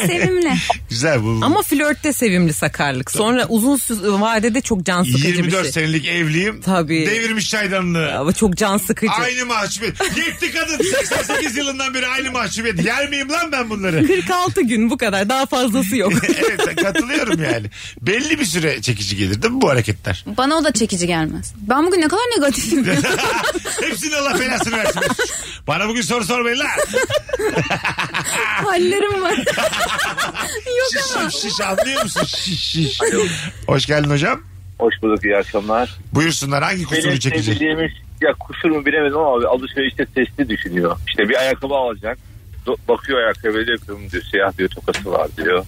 Speaker 4: Sevimli.
Speaker 3: Güzel bu.
Speaker 5: Ama flörtte sevimli sakarlık. Sonra uzun sü- vadede çok can sıkıcı bir
Speaker 3: 24
Speaker 5: şey.
Speaker 3: senelik evliyim.
Speaker 5: Tabii.
Speaker 3: Devirmiş çaydanlığı.
Speaker 5: Ama çok can sıkıcı.
Speaker 3: Aynı mahcubiyet. Yetti kadın 88 yılından beri aynı mahcubiyet. Yer miyim lan ben bunları?
Speaker 5: 46 gün bu kadar daha fazlası yok.
Speaker 3: evet katılıyorum yani. Belli bir süre çekici gelir değil mi bu hareketler?
Speaker 4: Bana o da çekici gelmez. Ben bugün ne kadar negatifim.
Speaker 3: Hepsine Allah belasını versin. Bana bugün soru sormayın lan.
Speaker 4: Hallerim var.
Speaker 3: Şiş, şiş, şiş anlıyor musun? Şiş şiş. Hoş geldin hocam.
Speaker 11: Hoş bulduk iyi akşamlar.
Speaker 3: Buyursunlar hangi kusuru
Speaker 11: Benim
Speaker 3: çekecek?
Speaker 11: sevdiğimiz ya kusur mu bilemedim ama abi alışverişte sesli düşünüyor. İşte bir ayakkabı alacak. Do- Bakıyor ayakkabıya diyor ki "Bunun diyor siyah diyor tokası var diyor.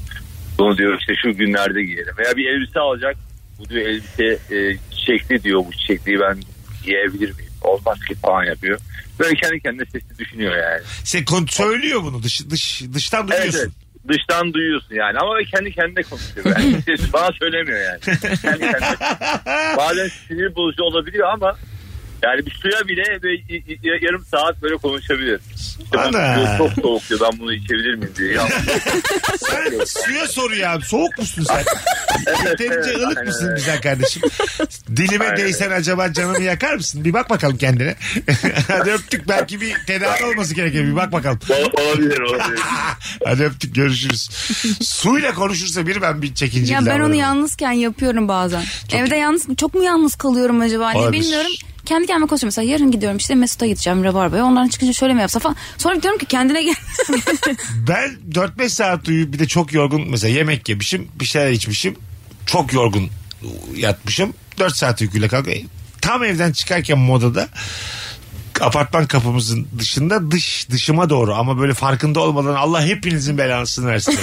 Speaker 11: Bunu diyor işte şu günlerde giyelim. Veya bir elbise alacak. Bu diyor elbise e, çiçekli diyor. Bu çiçekliği ben giyebilir miyim? Olmaz ki falan yapıyor. Böyle kendi kendine sesli düşünüyor yani.
Speaker 3: Sen kon- söylüyor bunu dış, dış, dıştan
Speaker 11: Evet,
Speaker 3: duyuyorsun.
Speaker 11: evet. Dıştan duyuyorsun yani ama kendi kendine konuşuyor. Yani. Ses bana söylemiyor yani. Kendi kendine. Bazen sinir bozucu olabiliyor ama yani bir suya bile böyle y- y- yarım saat böyle konuşabilir. İşte ben-
Speaker 3: Ana.
Speaker 11: çok soğuk diyor ben bunu içebilir miyim diye. Ya,
Speaker 3: Sen suya soruyor abi. Soğuk musun sen? Yeterince
Speaker 11: evet,
Speaker 3: ılık
Speaker 11: aynen
Speaker 3: mısın
Speaker 11: öyle.
Speaker 3: güzel kardeşim? Dilime
Speaker 11: Aynen
Speaker 3: değsen acaba canımı yakar mısın? Bir bak bakalım kendine. Hadi öptük. Belki bir tedavi olması gerekiyor. Bir bak bakalım.
Speaker 11: Ol- olabilir olabilir.
Speaker 3: Hadi öptük görüşürüz. Suyla konuşursa biri ben bir çekince.
Speaker 4: ya ben onu yalnızken yapıyorum bazen. Evde yalnız çok mu yalnız kalıyorum acaba ne
Speaker 3: Olabilir.
Speaker 4: bilmiyorum. Kendi kendime konuşuyorum. Mesela yarın gidiyorum işte Mesut'a gideceğim Rabarba'ya. Onların çıkınca şöyle mi yapsa falan. Sonra diyorum ki kendine gel.
Speaker 3: Ben 4-5 saat uyuyup bir de çok yorgun mesela yemek yemişim bir şeyler içmişim çok yorgun yatmışım 4 saat uykuyla kalkıyorum. Tam evden çıkarken modada apartman kapımızın dışında dış dışıma doğru ama böyle farkında olmadan Allah hepinizin belasını versin.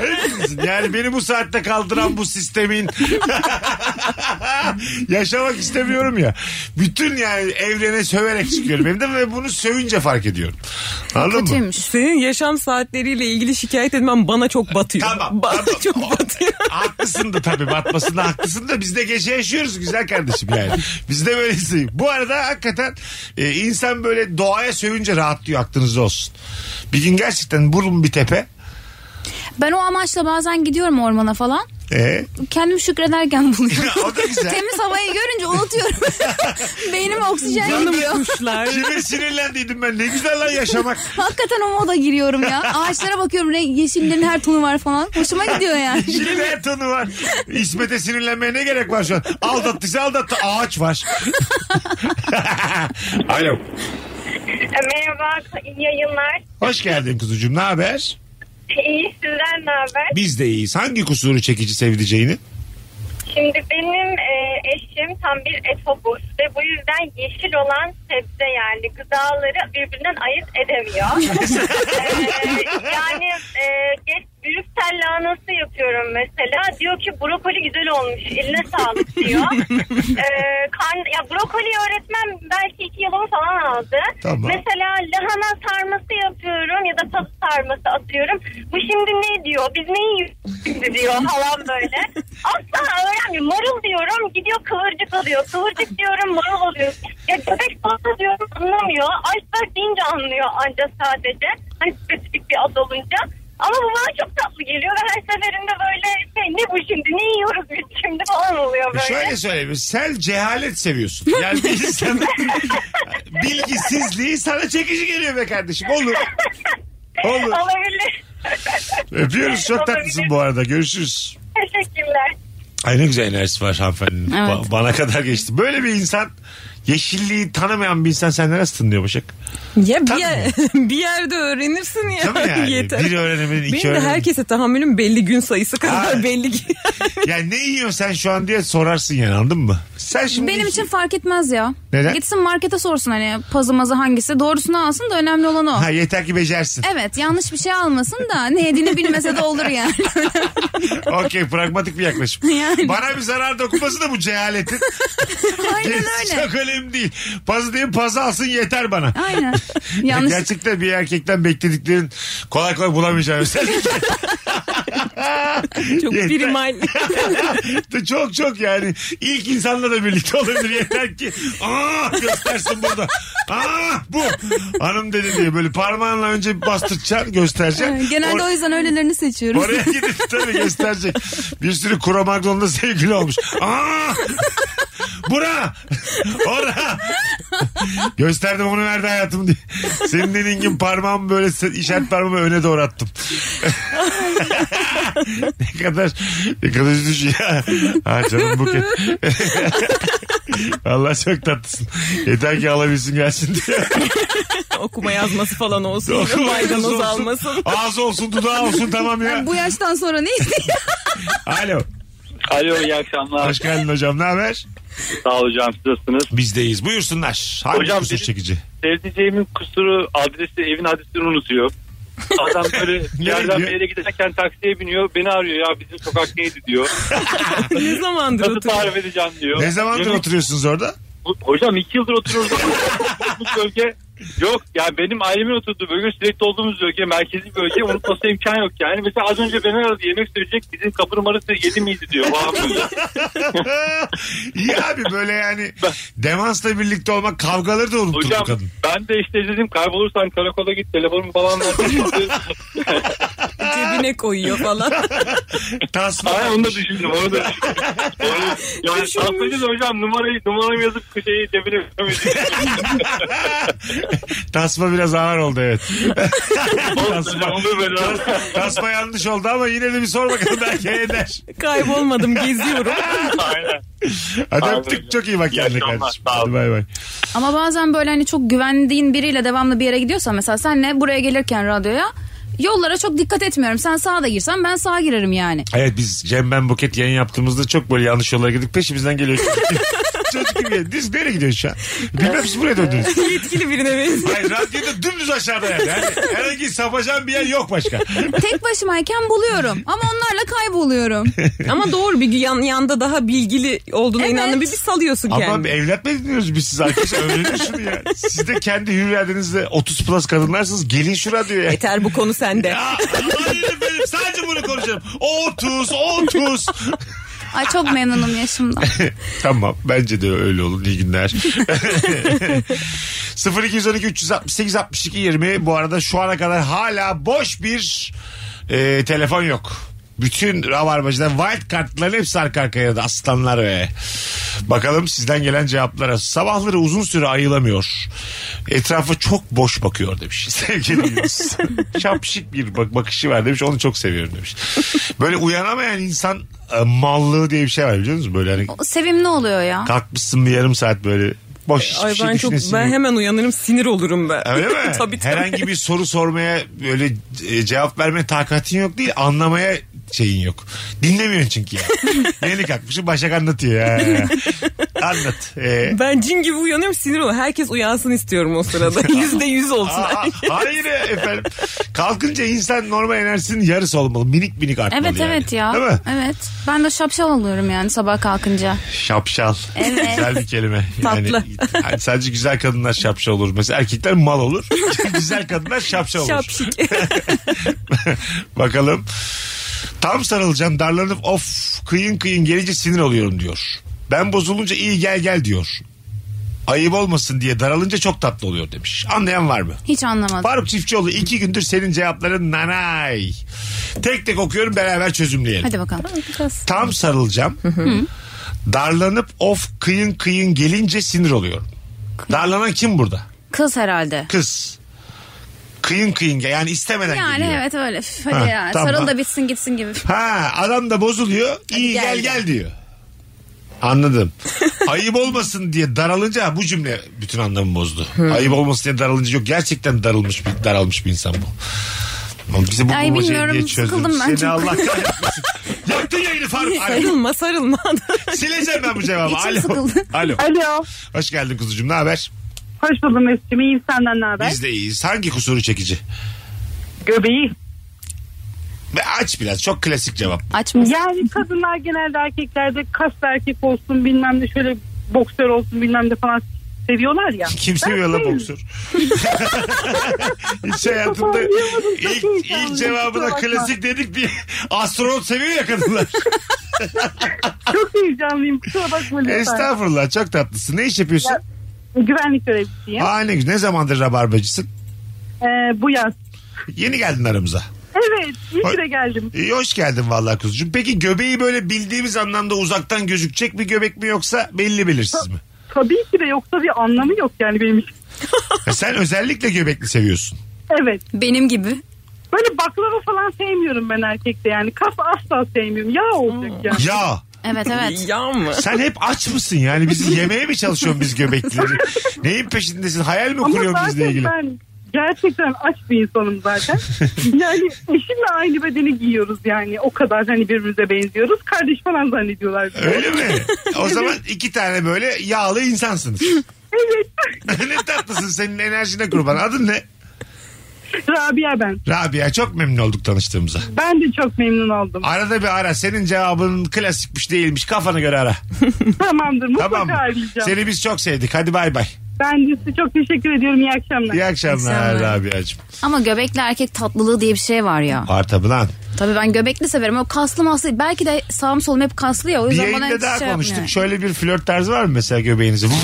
Speaker 3: Hepinizin. Yani beni bu saatte kaldıran bu sistemin yaşamak istemiyorum ya. Bütün yani evrene söverek çıkıyorum. Hem de ve bunu sövünce fark ediyorum. Anladın mı?
Speaker 4: Kötüymüş.
Speaker 5: Senin yaşam saatleriyle ilgili şikayet etmem bana çok batıyor.
Speaker 3: Tamam,
Speaker 5: Bana
Speaker 3: tamam.
Speaker 5: çok batıyor.
Speaker 3: Haklısın da tabii batmasında haklısın da biz de gece yaşıyoruz güzel kardeşim yani. Biz de böylesi. Bu arada hakikaten e, insan böyle doğaya sövünce rahatlıyor aklınızda olsun. Bir gün gerçekten burun bir tepe.
Speaker 4: Ben o amaçla bazen gidiyorum ormana falan.
Speaker 3: E,
Speaker 4: Kendimi şükrederken buluyorum.
Speaker 3: o da güzel.
Speaker 4: Temiz havayı görünce unutuyorum. Beynim oksijen
Speaker 5: Canım
Speaker 4: gidiyor.
Speaker 5: kuşlar.
Speaker 3: Kime sinirlendiydim ben ne güzel lan yaşamak.
Speaker 4: Hakikaten o moda giriyorum ya. Ağaçlara bakıyorum renk, yeşillerin her tonu var falan. Hoşuma gidiyor yani.
Speaker 3: Şimdi her tanı var. İsmet'e sinirlenmeye ne gerek var şu an? Aldattıysa aldattı. Ağaç var. Alo.
Speaker 10: Merhaba, iyi yayınlar.
Speaker 3: Hoş geldin kuzucuğum. Ne haber?
Speaker 10: İyi, sizden ne haber?
Speaker 3: Biz de iyiyiz. Hangi kusuru çekici sevdiceğini?
Speaker 10: Şimdi benim e, eşim tam bir etobus ve bu yüzden yeşil olan sebze yani gıdaları birbirinden ayırt edemiyor. Ee, yani e, geç büyük lahanası yapıyorum mesela. Diyor ki brokoli güzel olmuş. Eline sağlık diyor. Ee, kan, ya brokoli öğretmen belki iki yılımı falan aldı.
Speaker 3: Tamam.
Speaker 10: Mesela lahana sarması yapıyorum ya da pazı sarması atıyorum. Bu şimdi ne diyor? Biz neyi yiyoruz diyor falan böyle. Asla öğrenmiyor. Marul diyorum gidiyor kıvırcık alıyor. Kıvırcık diyorum marul alıyor. Ya köpek salata diyorum anlamıyor. Iceberg deyince anlıyor anca sadece. Hani spesifik bir ad olunca. Ama bu bana çok tatlı geliyor ve her seferinde böyle şey ne bu şimdi ne yiyoruz biz şimdi falan oluyor böyle.
Speaker 3: E Şöyle söyleyeyim. Sen cehalet seviyorsun. Yani bir insanın bilgisizliği sana çekici geliyor be kardeşim. Olur. Olur.
Speaker 10: Olabilir.
Speaker 3: Öpüyoruz. Çok tatlısın bu arada. Görüşürüz.
Speaker 10: Teşekkürler.
Speaker 3: Ay ne güzel enerjisi var hanımefendinin.
Speaker 4: Evet.
Speaker 3: Ba- bana kadar geçti. Böyle bir insan yeşilliği tanımayan bir insan senden nasıl tınlıyor Başak?
Speaker 5: Ya bir,
Speaker 3: Tabii.
Speaker 5: yer- bir yerde öğrenirsin ya.
Speaker 3: Tabii yani.
Speaker 5: Yeter.
Speaker 3: Bir öğrenemenin iki
Speaker 5: Benim de
Speaker 3: öğrenemenin.
Speaker 5: herkese tahammülüm belli gün sayısı kadar
Speaker 3: Ha.
Speaker 5: belli ki.
Speaker 3: Yani ne yiyorsun sen şu an diye sorarsın yani anladın mı? Sen şimdi
Speaker 4: Benim için fark etmez ya.
Speaker 3: Neden?
Speaker 4: Gitsin markete sorsun hani pazı mazı hangisi. Doğrusunu alsın da önemli olan o.
Speaker 3: Ha yeter ki becersin.
Speaker 4: Evet yanlış bir şey almasın da ne yediğini bilmese de olur yani.
Speaker 3: Okey pragmatik bir yaklaşım.
Speaker 4: Yani.
Speaker 3: Bana bir zarar dokunması da bu cehaletin.
Speaker 4: Aynen
Speaker 3: Gerisi
Speaker 4: öyle.
Speaker 3: Çok önemli değil. Pazı diyeyim pazı alsın yeter bana.
Speaker 4: Aynen. Yanlış.
Speaker 3: Gerçekten bir erkekten beklediklerin kolay kolay bulamayacağın özellikle. çok
Speaker 5: primal.
Speaker 3: çok çok yani. İlk insanla da birlikte olabilir. Yeter ki aa göstersin burada. Aa bu. Hanım dedi diye böyle parmağınla önce bastıracaksın göstereceksin.
Speaker 4: Genelde
Speaker 3: Or-
Speaker 4: o yüzden öylelerini seçiyoruz.
Speaker 3: Oraya gidip tabii gösterecek. Bir sürü kura Magnon'la sevgili olmuş. Aa! Bura! Ora! Gösterdim onu verdi hayatım diye. Senin dediğin gibi parmağımı böyle se- işaret parmağımı öne doğru attım. ne kadar ne kadar üzücü ya. Ha canım buket. Allah çok tatlısın. Yeter ki alabilsin gelsin diye.
Speaker 5: Okuma yazması falan olsun.
Speaker 3: Okuma
Speaker 5: Maydanoz
Speaker 3: yazması
Speaker 5: almasın.
Speaker 3: Ağız olsun dudağı olsun tamam ya.
Speaker 4: Yani bu yaştan sonra ne istiyor?
Speaker 3: Alo.
Speaker 6: Alo iyi akşamlar.
Speaker 3: Hoş geldin hocam. Ne haber?
Speaker 6: Sağ ol hocam siz nasılsınız?
Speaker 3: Bizdeyiz. Buyursunlar. Hangi
Speaker 6: Hocam,
Speaker 3: kusur
Speaker 6: benim-
Speaker 3: çekici?
Speaker 6: Sevdiceğimin kusuru adresi evin adresini unutuyor. Adam böyle bir yerden bir
Speaker 3: diyor?
Speaker 6: yere giderken taksiye biniyor. Beni arıyor ya bizim sokak neydi diyor.
Speaker 5: ne zamandır
Speaker 6: Nasıl
Speaker 5: oturuyor?
Speaker 6: tarif edeceğim diyor.
Speaker 3: Ne zamandır
Speaker 6: Yemin-
Speaker 3: oturuyorsunuz orada?
Speaker 6: Hocam iki yıldır oturuyoruz. Bu bölge yok. Yani benim ailemin oturduğu bölge sürekli olduğumuz bölge merkezi bölge unutması imkan yok yani. Mesela az önce beni aradı yemek söyleyecek bizim kapı numarası yedi miydi diyor. Vay be.
Speaker 3: İyi abi böyle yani demansla birlikte olmak kavgaları da unutur bu
Speaker 6: Hocam
Speaker 3: kadın.
Speaker 6: ben de işte dedim kaybolursan karakola git telefonumu falan ver.
Speaker 5: Cebine koyuyor falan.
Speaker 3: Tasma.
Speaker 6: Aynen onu da düşündüm. Onu da düşündüm. Onu- yani
Speaker 5: Düşünmüş.
Speaker 6: aslında da hocam numarayı numaramı yazıp şeyi cebine vermedim.
Speaker 3: Tasma biraz ağır oldu evet.
Speaker 6: Olsun
Speaker 3: Tasma,
Speaker 6: hocam olur böyle.
Speaker 3: tasma yanlış oldu ama yine de bir sor bakalım belki eder.
Speaker 5: Kaybolmadım geziyorum.
Speaker 6: Aynen.
Speaker 3: Hadi
Speaker 6: Abi
Speaker 3: öptük
Speaker 6: hocam.
Speaker 3: çok iyi bak
Speaker 6: İyi
Speaker 3: kendine
Speaker 6: akşamlar,
Speaker 3: kardeşim.
Speaker 6: sağ ol.
Speaker 3: Hadi bay bay.
Speaker 4: Ama bazen böyle hani çok güvendiğin biriyle devamlı bir yere gidiyorsan mesela senle buraya gelirken radyoya yollara çok dikkat etmiyorum. Sen sağa da girsen ben sağa girerim yani.
Speaker 3: Evet biz Cem ben Buket yayın yaptığımızda çok böyle yanlış yollara gittik. Peşimizden geliyor çocuk gibi. çocuk gibi. geliyor. Siz nereye gidiyorsunuz şu an? Bilmem siz buraya döndünüz.
Speaker 5: Yetkili birine benziyor.
Speaker 3: Hayır radyoda dümdüz aşağıda yani. yani herhangi sapacağım bir yer yok başka.
Speaker 4: Tek başımayken buluyorum ama onlarla kayboluyorum.
Speaker 5: Ama doğru bir yan, yanda daha bilgili olduğuna
Speaker 4: Evet.
Speaker 5: inandın bir, bir salıyorsun
Speaker 3: Ama
Speaker 5: kendini.
Speaker 3: evlat mı ediniyoruz biz siz arkadaş öğrenin şunu ya. Siz de kendi hür iradenizle 30 plus kadınlarsınız. Gelin şu radyoya.
Speaker 5: Yeter bu konu sende.
Speaker 3: Ya, hayır benim sadece bunu konuşacağım. 30 30.
Speaker 4: Ay çok memnunum yaşımdan.
Speaker 3: tamam bence de öyle olun iyi günler. 0212 368 62 20 bu arada şu ana kadar hala boş bir e, telefon yok. Bütün rabarbacılar wild kartların hepsi arka arkaya da aslanlar ve bakalım sizden gelen cevaplara. Sabahları uzun süre ayılamıyor. Etrafa çok boş bakıyor demiş. Sevgilimiz. Şapşik bir bak bakışı var demiş. Onu çok seviyorum demiş. Böyle uyanamayan insan e, mallığı diye bir şey var biliyor musunuz? Böyle hani
Speaker 4: O sevimli oluyor ya.
Speaker 3: Kalkmışsın bir yarım saat böyle boş hiçbir
Speaker 5: Ay
Speaker 3: şey
Speaker 5: ben çok
Speaker 3: düşünesin
Speaker 5: ben
Speaker 3: yok.
Speaker 5: hemen uyanırım sinir olurum ben.
Speaker 3: Öyle mi?
Speaker 5: tabii tabii.
Speaker 3: Herhangi bir soru sormaya böyle e, cevap vermeye takatin yok değil anlamaya şeyin yok. Dinlemiyorsun çünkü ya. Yeni kalkmışım Başak anlatıyor ya. Anlat. Ee,
Speaker 5: Ben cin gibi uyanıyorum sinir olurum. Herkes uyansın istiyorum o sırada. Yüzde yüz olsun.
Speaker 3: aa, hayır efendim. Kalkınca insan normal enerjisinin yarısı olmalı. Minik minik artmalı
Speaker 4: Evet
Speaker 3: yani.
Speaker 4: evet ya.
Speaker 3: Değil mi?
Speaker 4: Evet. Ben de şapşal oluyorum yani sabah kalkınca.
Speaker 3: Şapşal.
Speaker 4: Evet.
Speaker 3: Güzel bir kelime.
Speaker 5: Tatlı.
Speaker 3: yani sadece güzel kadınlar şapşal olur. Mesela erkekler mal olur. güzel kadınlar şapşal olur.
Speaker 5: Şapşik.
Speaker 3: Bakalım. Tam sarılacağım darlanıp of kıyın kıyın gelince sinir oluyorum diyor. Ben bozulunca iyi gel gel diyor. Ayıp olmasın diye daralınca çok tatlı oluyor demiş. Anlayan var mı?
Speaker 4: Hiç anlamadım.
Speaker 3: Faruk Çiftçioğlu iki gündür senin cevapların nanay. Tek tek okuyorum beraber çözümleyelim.
Speaker 4: Hadi bakalım.
Speaker 3: Tam sarılacağım. darlanıp of kıyın kıyın gelince sinir oluyorum. Darlanan kim burada?
Speaker 4: Kız herhalde.
Speaker 3: Kız. Kıyın kıyın gel- yani istemeden
Speaker 4: Yani
Speaker 3: geliyor.
Speaker 4: evet öyle. Üf,
Speaker 3: Ha,
Speaker 4: Hadi ya.
Speaker 3: tamam.
Speaker 4: Sarıl da bitsin gitsin gibi.
Speaker 3: Ha adam da bozuluyor. İyi gel
Speaker 5: gel,
Speaker 3: gel, diyor. Anladım. Ayıp olmasın diye daralınca ha, bu cümle bütün anlamı bozdu. Ayıp olmasın diye daralınca yok. Gerçekten darılmış bir, daralmış bir insan bu. Ama Bize bu
Speaker 4: Ay,
Speaker 3: bulmacayı
Speaker 4: bilmiyorum,
Speaker 3: niye çözdün?
Speaker 4: sıkıldım ben
Speaker 3: Seni
Speaker 4: çok.
Speaker 3: Allah kahretmesin. Yaktın yayını Faruk. Ay,
Speaker 5: sarılma sarılma.
Speaker 3: sileceğim ben bu cevabı.
Speaker 4: İçim
Speaker 3: Alo.
Speaker 4: sıkıldı.
Speaker 3: Alo.
Speaker 12: Alo.
Speaker 3: Hoş geldin kuzucuğum. Ne haber?
Speaker 12: Hoş buldum Mesut'cum. İyiyim senden ne haber?
Speaker 3: Biz de iyiyiz. Hangi kusuru çekici?
Speaker 12: Göbeği.
Speaker 3: Ve aç biraz. Çok klasik cevap.
Speaker 4: Aç mısın?
Speaker 12: Yani kadınlar genelde erkeklerde kaslı erkek olsun bilmem ne şöyle boksör olsun bilmem ne falan seviyorlar ya.
Speaker 3: Kim seviyor lan boksör? Hiç hayatımda ilk, ilk cevabına klasik dedik diye astronot seviyor ya kadınlar.
Speaker 12: Çok heyecanlıyım kusura bakma lütfen.
Speaker 3: Estağfurullah çok tatlısın. Ne iş yapıyorsun?
Speaker 12: Güvenlik görevlisiyim.
Speaker 3: Aa ne güzel. Ne zamandır rabarbacısın?
Speaker 12: Ee, bu yaz.
Speaker 3: Yeni geldin aramıza.
Speaker 12: Evet iyi
Speaker 3: Hoş-
Speaker 12: ki de geldim.
Speaker 3: İyi hoş geldin vallahi kuzucuğum. Peki göbeği böyle bildiğimiz anlamda uzaktan gözükecek bir göbek mi yoksa belli belirsiz mi?
Speaker 12: Tabii ki de yoksa bir anlamı yok yani benim için.
Speaker 3: Ya sen özellikle göbekli seviyorsun.
Speaker 12: Evet. Benim gibi. Böyle baklava falan sevmiyorum ben erkekte yani. Kas asla sevmiyorum. Yağ
Speaker 3: Hmm.
Speaker 12: olacak yani.
Speaker 3: Ya.
Speaker 4: Evet evet.
Speaker 3: Sen hep aç mısın yani? Bizi yemeye mi çalışıyorsun biz göbeklileri? Neyin peşindesin? Hayal mi
Speaker 12: Ama
Speaker 3: kuruyorsun bizle
Speaker 12: zaten
Speaker 3: ilgili?
Speaker 12: ben gerçekten aç bir insanım zaten. yani eşimle aynı bedeni giyiyoruz yani. O kadar hani birbirimize benziyoruz. Kardeş falan zannediyorlar. bizi.
Speaker 3: Öyle mi? O zaman iki tane böyle yağlı insansınız.
Speaker 12: Evet.
Speaker 3: ne tatlısın senin enerjine kurban. Adın ne?
Speaker 12: Rabia ben.
Speaker 3: Rabia çok memnun olduk tanıştığımıza.
Speaker 12: Ben de çok memnun oldum.
Speaker 3: Arada bir ara. Senin cevabın klasikmiş değilmiş. Kafana göre ara.
Speaker 12: Tamamdır mutlaka
Speaker 3: tamam mı?
Speaker 12: arayacağım.
Speaker 3: Seni biz çok sevdik. Hadi bay bay.
Speaker 12: Ben de size çok teşekkür ediyorum. İyi akşamlar.
Speaker 3: İyi akşamlar Rabia'cığım.
Speaker 4: Ama göbekli erkek tatlılığı diye bir şey var ya.
Speaker 3: Var tabii lan.
Speaker 4: Tabii ben göbekli severim. O kaslı maslı. Belki de sağım solum hep kaslı ya. O
Speaker 3: Bir
Speaker 4: yüzden bana
Speaker 3: yayında
Speaker 4: hiç
Speaker 3: daha
Speaker 4: şey
Speaker 3: konuştuk.
Speaker 4: yapmıyor.
Speaker 3: Şöyle bir flört tarzı var mı mesela göbeğinizi?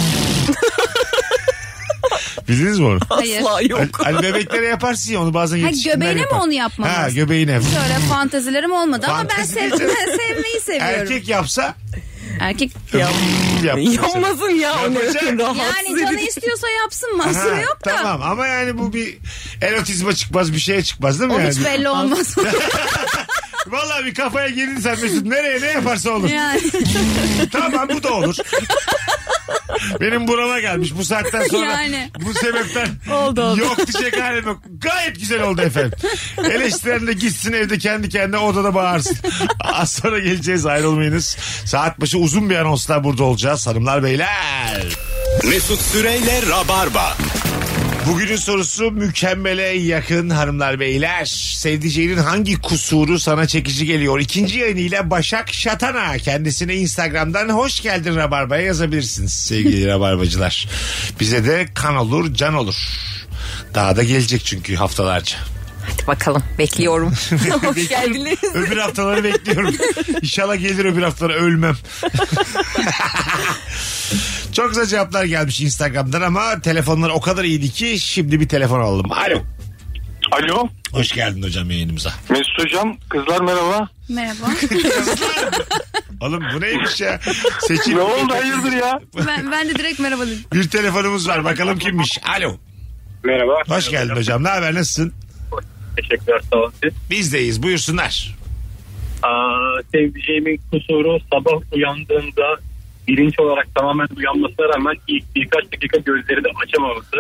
Speaker 3: Bildiniz mi onu?
Speaker 4: Hayır. Asla yok.
Speaker 3: Hani, hani bebeklere yaparsın ya onu bazen
Speaker 4: Ha,
Speaker 3: yetişkinler
Speaker 4: göbeğine mi
Speaker 3: yapar.
Speaker 4: onu yapmamız?
Speaker 3: Ha göbeğine.
Speaker 4: Şöyle fantezilerim olmadı ama ben,
Speaker 3: Fantezi
Speaker 4: sev
Speaker 3: değil
Speaker 4: ben sevmeyi seviyorum.
Speaker 3: Erkek yapsa
Speaker 4: Erkek
Speaker 3: Yapmasın
Speaker 13: ya,
Speaker 4: o ne
Speaker 13: yakın rahat.
Speaker 4: yani canı istiyorsa yapsın mahsuru
Speaker 3: Ha,
Speaker 4: yok da.
Speaker 3: Tamam ama yani bu bir erotizma çıkmaz bir şeye çıkmaz değil mi?
Speaker 4: O
Speaker 3: yani?
Speaker 4: hiç belli olmaz.
Speaker 3: Vallahi bir kafaya girdin sen Mesut nereye ne yaparsa olur.
Speaker 4: Yani.
Speaker 3: tamam bu da olur. Benim burama gelmiş bu saatten sonra
Speaker 14: Yani.
Speaker 3: bu sebepten
Speaker 14: Oldu, oldu.
Speaker 3: yok diyecek halim yok. Gayet güzel oldu efendim. Eleştiren de gitsin evde kendi kendine odada bağırsın. Az sonra geleceğiz ayrılmayınız. Saat başı uzun bir anonsla burada olacağız hanımlar beyler.
Speaker 15: Mesut Süreyle Rabarba.
Speaker 3: Bugünün sorusu mükemmele yakın hanımlar beyler. Sevdiceğinin hangi kusuru sana çekici geliyor? İkinci yayınıyla Başak Şatana kendisine Instagram'dan hoş geldin Rabarba'ya yazabilirsiniz sevgili Rabarbacılar. Bize de kan olur can olur. Daha da gelecek çünkü haftalarca.
Speaker 13: Hadi bakalım bekliyorum.
Speaker 3: Bekliyorum.
Speaker 13: Hoş geldiniz.
Speaker 3: Öbür haftaları bekliyorum. İnşallah gelir öbür haftalara ölmem. Çok güzel cevaplar gelmiş Instagram'dan ama telefonlar o kadar iyiydi ki şimdi bir telefon alalım. Alo.
Speaker 6: Alo.
Speaker 3: Hoş geldin hocam yayınımıza.
Speaker 6: Mesut Hocam kızlar merhaba.
Speaker 4: Merhaba.
Speaker 3: Oğlum bu neymiş ya? Seçim.
Speaker 6: Ne oldu, hayırdır ya?
Speaker 4: Ben, ben de direkt merhaba dedim.
Speaker 3: Bir telefonumuz var bakalım kimmiş. Alo.
Speaker 6: Merhaba.
Speaker 3: Hoş geldin hocam. Ne haber nasılsın?
Speaker 6: Teşekkürler sağ olun. Siz?
Speaker 3: Bizdeyiz buyursunlar.
Speaker 6: Aa, sevdiceğimin kusuru sabah uyandığında bilinç olarak tamamen uyanmasına rağmen ilk birkaç dakika gözlerini açamaması.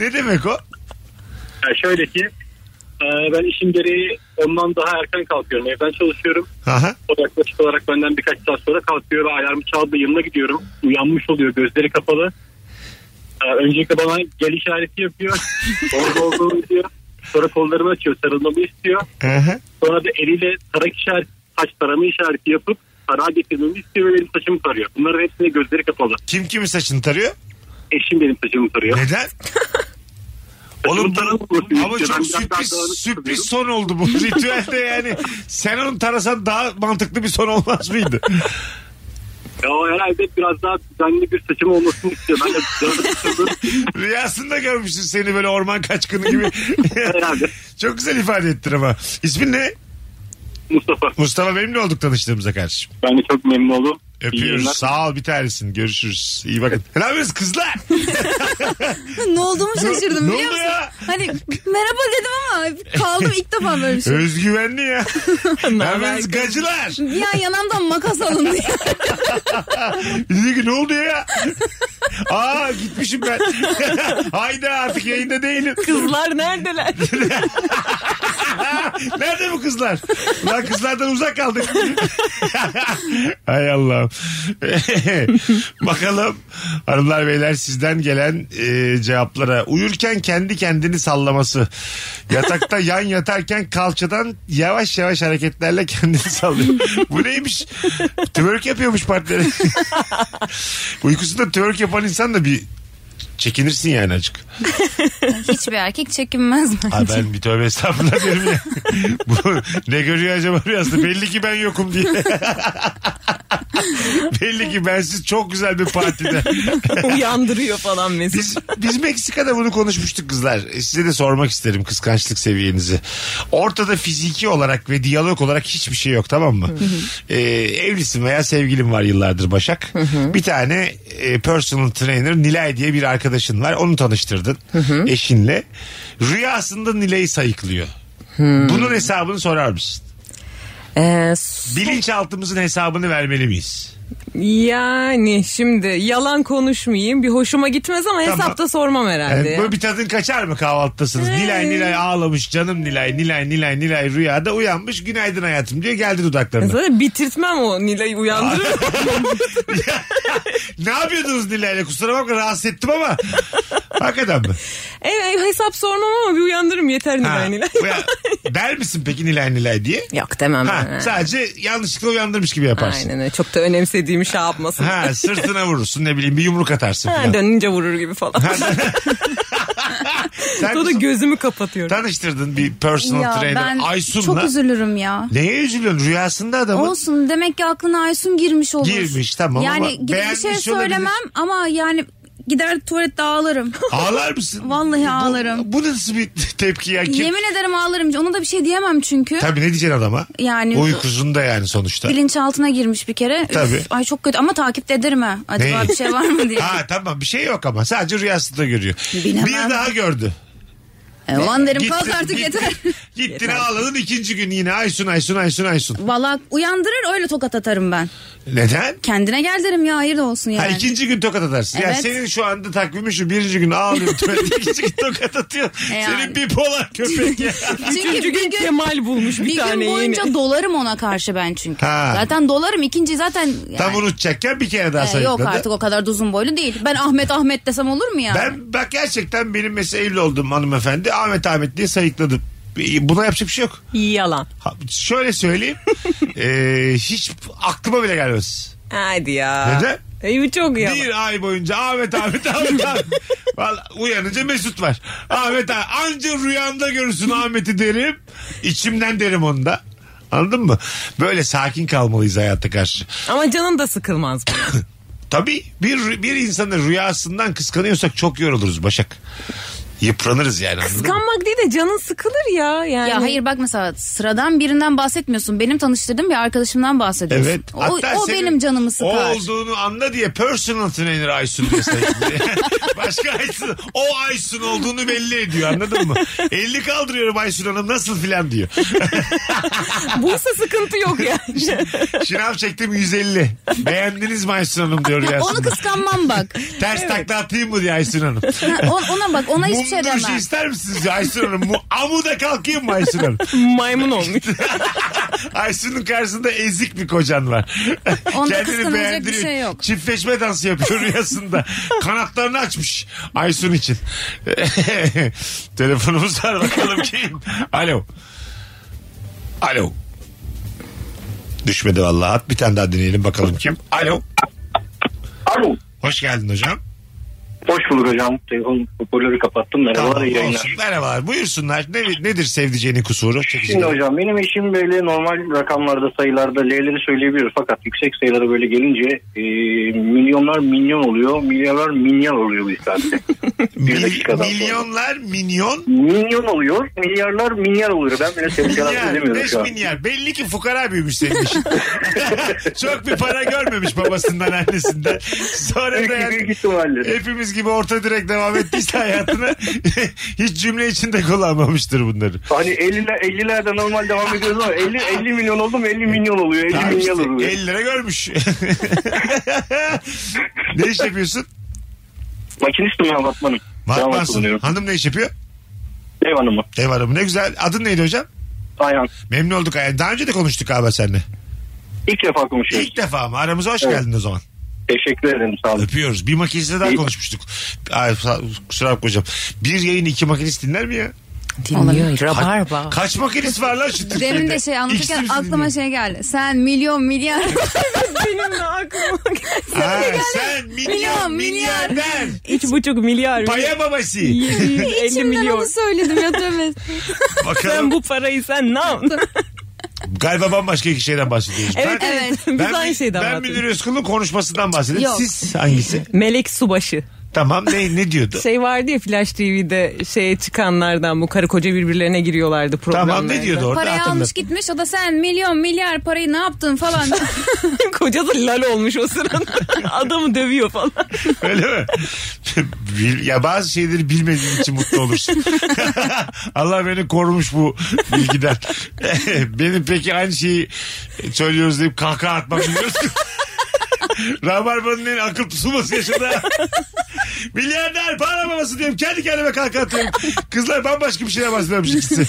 Speaker 3: ne demek o?
Speaker 6: Yani şöyle ki e, ben işim gereği ondan daha erken kalkıyorum. Evden çalışıyorum.
Speaker 3: Aha.
Speaker 6: O da yaklaşık olarak benden birkaç saat sonra kalkıyor ve alarmı çaldı yanına gidiyorum. Uyanmış oluyor gözleri kapalı. Ee, öncelikle bana gel işareti yapıyor. Orada olduğunu diyor. Sonra kollarımı açıyor sarılmamı istiyor. Sonra da eliyle tarak işareti, saç tarama işareti yapıp tarağa getirmemi istiyor ve benim saçımı tarıyor. Bunların hepsine gözleri kapalı.
Speaker 3: Kim kimi saçını tarıyor?
Speaker 6: Eşim benim saçımı tarıyor.
Speaker 3: Neden? Oğlum bu, ama çok sürpriz, sürpriz son oldu bu ritüelde yani. Sen onu tarasan daha mantıklı bir son olmaz mıydı?
Speaker 6: Ya o herhalde biraz daha düzenli bir saçım olmasını istiyor. Ben de
Speaker 3: Rüyasında görmüşsün seni böyle orman kaçkını gibi. Çok güzel ifade ettin ama. İsmin ne?
Speaker 6: Mustafa.
Speaker 3: Mustafa benimle olduk tanıştığımıza karşı.
Speaker 6: Ben de çok memnun oldum. İyi
Speaker 3: Öpüyoruz.
Speaker 6: yayınlar.
Speaker 3: Sağ ol bir tanesin. Görüşürüz. İyi bakın. Ne yapıyorsunuz kızlar?
Speaker 4: ne olduğumu
Speaker 3: Ne-
Speaker 4: şaşırdım
Speaker 3: ne
Speaker 4: biliyor
Speaker 3: oldu
Speaker 4: musun? Hani merhaba dedim ama kaldım ilk defa böyle bir şey.
Speaker 3: Özgüvenli ya. Hemen gacılar.
Speaker 4: Bir an yanamdan makas alındı.
Speaker 3: Dedi ki ne oldu ya? Aa gitmişim ben. Hayda artık yayında değilim.
Speaker 5: Kızlar neredeler?
Speaker 3: Nerede bu kızlar? Lan kızlardan uzak kaldık. Hay Allah'ım. Bakalım hanımlar beyler sizden gelen e, cevaplara. Uyurken kendi kendini sallaması. Yatakta yan yatarken kalçadan yavaş yavaş hareketlerle kendini sallıyor. Bu neymiş? Twerk yapıyormuş partneri. Uykusunda twerk yapan insan da bir çekinirsin yani açık.
Speaker 4: Hiçbir erkek çekinmez bence.
Speaker 3: Ha ben bir tövbe estağfurullah derim ya. Bu, ne görüyor acaba rüyasında? Belli ki ben yokum diye. Belli ki bensiz çok güzel bir partide.
Speaker 5: Uyandırıyor falan mesela.
Speaker 3: Biz, biz Meksika'da bunu konuşmuştuk kızlar. E, Size de sormak isterim kıskançlık seviyenizi. Ortada fiziki olarak ve diyalog olarak hiçbir şey yok tamam mı? E, evlisin veya sevgilin var yıllardır Başak. Bir tane e, personal trainer Nilay diye bir arkadaşın var. Onu tanıştırdın eşinle. Rüyasında Nilay'ı sayıklıyor. Bunun hesabını sorar mısın? Bilinçaltımızın hesabını vermeli miyiz?
Speaker 5: Yani şimdi yalan konuşmayayım. Bir hoşuma gitmez ama hesapta sormam herhalde.
Speaker 3: Yani
Speaker 5: ya.
Speaker 3: Ee, böyle bir tadın kaçar mı kahvaltıdasınız? Nilay Nilay ağlamış canım Nilay Nilay Nilay Nilay rüyada uyanmış günaydın hayatım diyor geldi dudaklarına.
Speaker 5: Zaten bitirtmem o Nilay'ı uyandırır.
Speaker 3: ne yapıyordunuz Nilay'la kusura bakma rahatsız ettim ama. Hakikaten mi?
Speaker 5: evet, hesap sormam ama bir uyandırırım
Speaker 3: Ha,
Speaker 5: yeter Nilay Nilay.
Speaker 3: uya- der misin peki Nilay Nilay diye?
Speaker 5: Yok demem
Speaker 3: Ha,
Speaker 5: ben.
Speaker 3: Sadece yanlışlıkla uyandırmış gibi yaparsın.
Speaker 5: Ee. Aynen öyle. Çok da önemsediğim şey yapmasın.
Speaker 3: Ha, sırtına vurursun ne bileyim bir yumruk atarsın.
Speaker 5: Ha,
Speaker 3: falan.
Speaker 5: dönünce vurur gibi falan.
Speaker 3: Sen
Speaker 5: Sonra gözümü kapatıyorum.
Speaker 3: tanıştırdın bir personal
Speaker 4: ya
Speaker 3: trainer
Speaker 4: ben
Speaker 3: Aysun'la.
Speaker 4: çok üzülürüm ya.
Speaker 3: Neye üzülüyorsun? Rüyasında adamın
Speaker 4: Olsun demek ki aklına Aysun girmiş olur.
Speaker 3: Girmiş, tamam
Speaker 4: yani
Speaker 3: ama
Speaker 4: gidip bir şey
Speaker 3: beğenmiş
Speaker 4: söylemem
Speaker 3: olabilir.
Speaker 4: ama yani gider tuvalette ağlarım.
Speaker 3: ağlar mısın?
Speaker 4: Vallahi
Speaker 3: Bu-
Speaker 4: ağlarım.
Speaker 3: Bu, nasıl bir tepki ya? Kim?
Speaker 4: Yemin ederim ağlarım. Ona da bir şey diyemem çünkü.
Speaker 3: Tabii ne diyeceksin adama?
Speaker 4: Yani-
Speaker 3: Uykusunda yani sonuçta.
Speaker 4: Bilinçaltına girmiş bir kere. Üf,
Speaker 3: Tabii.
Speaker 4: ay çok kötü ama takip ederim ha. Acaba
Speaker 3: Ne?
Speaker 4: bir şey var mı diye.
Speaker 3: Ha tamam bir şey yok ama sadece rüyasında görüyor.
Speaker 4: Bilemem.
Speaker 3: Bir daha gördü.
Speaker 4: E, ulan derim
Speaker 3: Gittin-
Speaker 4: kalk artık
Speaker 3: gittin-
Speaker 4: yeter.
Speaker 3: Gittin ağladın ikinci gün yine Aysun Aysun Aysun Aysun.
Speaker 4: Valla uyandırır öyle tokat atarım ben.
Speaker 3: Neden?
Speaker 4: Kendine gel derim ya hayır da olsun yani.
Speaker 3: Ha, ikinci gün tokat atarsın. Ya
Speaker 4: Evet.
Speaker 3: senin şu anda takvimi şu birinci gün ağlıyor. tuvalete, ikinci gün tokat atıyor.
Speaker 4: E
Speaker 3: Senin
Speaker 4: yani.
Speaker 3: bipolar köpek ya.
Speaker 4: Çünkü bir gün,
Speaker 5: Kemal bulmuş bir,
Speaker 4: bir
Speaker 5: tane
Speaker 4: gün boyunca
Speaker 5: yeni.
Speaker 4: dolarım ona karşı ben çünkü.
Speaker 3: Ha.
Speaker 4: Zaten dolarım ikinci zaten yani.
Speaker 3: Tam unutacakken bir kere daha
Speaker 4: E,
Speaker 3: sayıkladı.
Speaker 4: yok artık o kadar da uzun boylu değil. Ben Ahmet Ahmet desem olur mu ya?
Speaker 3: Ben bak gerçekten benim mesela evli olduğum hanımefendi Ahmet Ahmet diye sayıkladım. Buna yapacak bir şey yok.
Speaker 5: Yalan.
Speaker 3: Ha, şöyle söyleyeyim. Ee, hiç aklıma bile gelmez.
Speaker 5: Hadi ya.
Speaker 3: Neden?
Speaker 5: E, bu çok yalan.
Speaker 3: Bir ay boyunca Ahmet Ahmet Ahmet Ahmet. Vallahi uyanınca Mesut var. Ahmet Ahmet. Anca rüyamda görürsün Ahmet'i derim. İçimden derim onu da. Anladın mı? Böyle sakin kalmalıyız hayata karşı.
Speaker 5: Ama canın da sıkılmaz. bu.
Speaker 3: Tabii bir, bir insanın rüyasından kıskanıyorsak çok yoruluruz Başak. Yıpranırız yani anladın mı?
Speaker 5: Kıskanmak değil de canın sıkılır ya. Yani.
Speaker 4: Ya hayır bak mesela sıradan birinden bahsetmiyorsun. Benim tanıştırdığım bir arkadaşımdan bahsediyorsun.
Speaker 3: Evet.
Speaker 4: O,
Speaker 3: Hatta
Speaker 4: o
Speaker 3: senin
Speaker 4: benim canımı sıkar.
Speaker 3: O olduğunu anla diye personal trainer Aysun deseydin diye. Başka Aysun. O Aysun olduğunu belli ediyor anladın mı? 50 kaldırıyorum Aysun Hanım nasıl filan diyor.
Speaker 5: Buysa sıkıntı yok ya.
Speaker 3: Şınav çektim 150. Beğendiniz mi Aysun Hanım diyor
Speaker 4: Onu
Speaker 3: rüyasında.
Speaker 4: kıskanmam bak.
Speaker 3: Ters takla atayım mı diyor Aysun Hanım.
Speaker 4: Ha, o- ona bak ona
Speaker 3: Mumlu
Speaker 4: hiçbir şey
Speaker 3: bir şey
Speaker 4: demem.
Speaker 3: ister misiniz diyor Aysun Hanım? Mu, amuda kalkayım mı Aysun Hanım?
Speaker 5: Maymun olmuş.
Speaker 3: Aysun'un karşısında ezik bir kocan var.
Speaker 4: Onda kıskanılacak bir
Speaker 3: beğendiriyor.
Speaker 4: şey yok.
Speaker 3: Çiftleşme dansı yapıyor rüyasında. Kanatlarını açmış Aysun için. Telefonumuz var bakalım kim? Alo. Alo. Düşmedi vallahi. At bir tane daha deneyelim bakalım kim? Alo.
Speaker 16: Alo.
Speaker 3: Hoş geldin hocam.
Speaker 16: Hoş bulduk hocam. Telefon hoparlörü kapattım. Merhabalar iyi yayınlar.
Speaker 3: olsun. Merhabalar. Buyursunlar. Ne, nedir sevdiceğinin kusuru? Çekici
Speaker 16: Şimdi hocam benim eşim böyle normal rakamlarda sayılarda L'leri söyleyebilir fakat yüksek sayılara böyle gelince e, milyonlar milyon oluyor milyarlar milyar oluyor bir saatte. bir dakikadan sonra.
Speaker 3: Milyonlar minyon.
Speaker 16: Milyon oluyor milyarlar milyar oluyor. Ben bile tepkiler
Speaker 3: Milyar,
Speaker 16: edemiyorum
Speaker 3: 5
Speaker 16: şu an.
Speaker 3: milyar. Belli ki fukara büyümüş senin işin. Çok bir para görmemiş babasından annesinden. Sonra da
Speaker 16: Büyük,
Speaker 3: yani
Speaker 16: büyük ihtimalle.
Speaker 3: hepimiz gibi orta direkt devam ettiyse hayatına hiç cümle içinde kullanmamıştır bunları.
Speaker 16: Hani 50'ler 50'lerde normal devam ediyoruz ama 50 50 milyon oldu mu 50 milyon oluyor 50
Speaker 3: Tamam
Speaker 16: milyar
Speaker 3: işte,
Speaker 16: oluyor.
Speaker 3: 50 lira görmüş. ne iş yapıyorsun?
Speaker 17: Makinistim ben Vatman'ım.
Speaker 3: Vatmansın. Hanım ne iş yapıyor?
Speaker 17: Ev hanımı.
Speaker 3: Ev hanımı. Ne güzel. Adın neydi hocam?
Speaker 17: Ayhan.
Speaker 3: Memnun olduk Ayhan. Daha önce de konuştuk galiba seninle.
Speaker 17: İlk defa konuşuyoruz.
Speaker 3: İlk defa mı? Aramıza hoş
Speaker 17: Evet.
Speaker 3: geldin o zaman.
Speaker 17: Teşekkür ederim sağ olun.
Speaker 3: Öpüyoruz. Bir makiniste daha konuşmuştuk. Ay, sa- kusura bakma hocam. Bir yayın iki makinist dinler mi ya?
Speaker 13: Dinliyor.
Speaker 3: Ka-
Speaker 13: Rabarba.
Speaker 3: kaç makinist var lan şu Türkiye'de?
Speaker 4: Demin de şey anlatırken
Speaker 3: İkisi mi
Speaker 4: aklıma şey geldi. Sen milyon milyar.
Speaker 5: Benim de aklıma geldi.
Speaker 3: Ha, sen milyon milyarder.
Speaker 13: Üç buçuk milyar.
Speaker 3: Paya babası.
Speaker 13: İçimden milyon. onu söyledim ya tövbe.
Speaker 3: Bakalım.
Speaker 13: sen bu parayı sen ne yaptın?
Speaker 3: Galiba bambaşka iki şeyden bahsediyoruz.
Speaker 13: Evet,
Speaker 3: Ben-
Speaker 13: evet. Biz
Speaker 3: ben,
Speaker 13: aynı şeyden
Speaker 3: Ben
Speaker 13: bahsediyoruz.
Speaker 3: Münir Özkul'un konuşmasından bahsedelim.
Speaker 13: Yok.
Speaker 3: Siz hangisi?
Speaker 13: Melek Subaşı.
Speaker 3: Tamam ne ne diyordu?
Speaker 13: Şey vardı ya Flash TV'de şeye çıkanlardan bu karı koca birbirlerine giriyorlardı programlarda.
Speaker 4: Parayı almış gitmiş o da sen milyon milyar parayı ne yaptın falan.
Speaker 13: Kocası lal olmuş o sırada. Adamı dövüyor falan.
Speaker 3: Öyle mi? Bil- ya bazı şeyleri bilmediğin için mutlu olursun. Allah beni korumuş bu bilgiden. Benim peki aynı şeyi söylüyoruz deyip kahkaha atmam biliyorsun. Rabarba'nın en akıl tutulması yaşında. Milyarder para babası diyorum. Kendi kendime kahkaha atıyorum. Kızlar bambaşka bir şeye bahsediyormuş ikisi.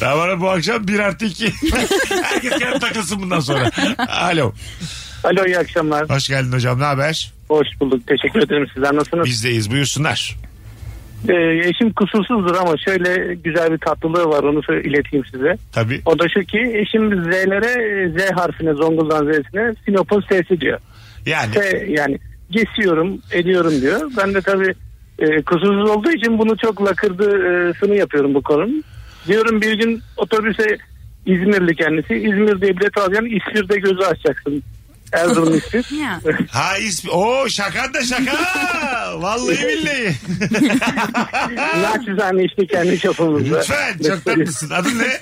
Speaker 3: Rabarba bu akşam 1 artı 2. Herkes kendi takılsın bundan sonra. Alo.
Speaker 17: Alo iyi akşamlar.
Speaker 3: Hoş geldin hocam. Ne haber?
Speaker 17: Hoş bulduk. Teşekkür ederim. Sizler nasılsınız?
Speaker 3: Bizdeyiz. Buyursunlar.
Speaker 17: Ee, eşim kusursuzdur ama şöyle güzel bir tatlılığı var onu sö- ileteyim size.
Speaker 3: Tabii.
Speaker 17: O da şu ki eşim Z'lere e, Z harfine Zonguldak Z'sine Sinop'un S'si diyor.
Speaker 3: Yani.
Speaker 17: S, yani kesiyorum ediyorum diyor. Ben de tabii e, kusursuz olduğu için bunu çok lakırdısını yapıyorum bu konunun. Diyorum bir gün otobüse İzmirli kendisi. İzmir diye bilet alacaksın İzmir'de gözü açacaksın. Erzurum İzmir.
Speaker 3: Ha ismi. Oo şaka da şaka. Vallahi billahi.
Speaker 17: Naçizane işte kendi çapımızda.
Speaker 3: Lütfen çok tatlısın. Adın ne?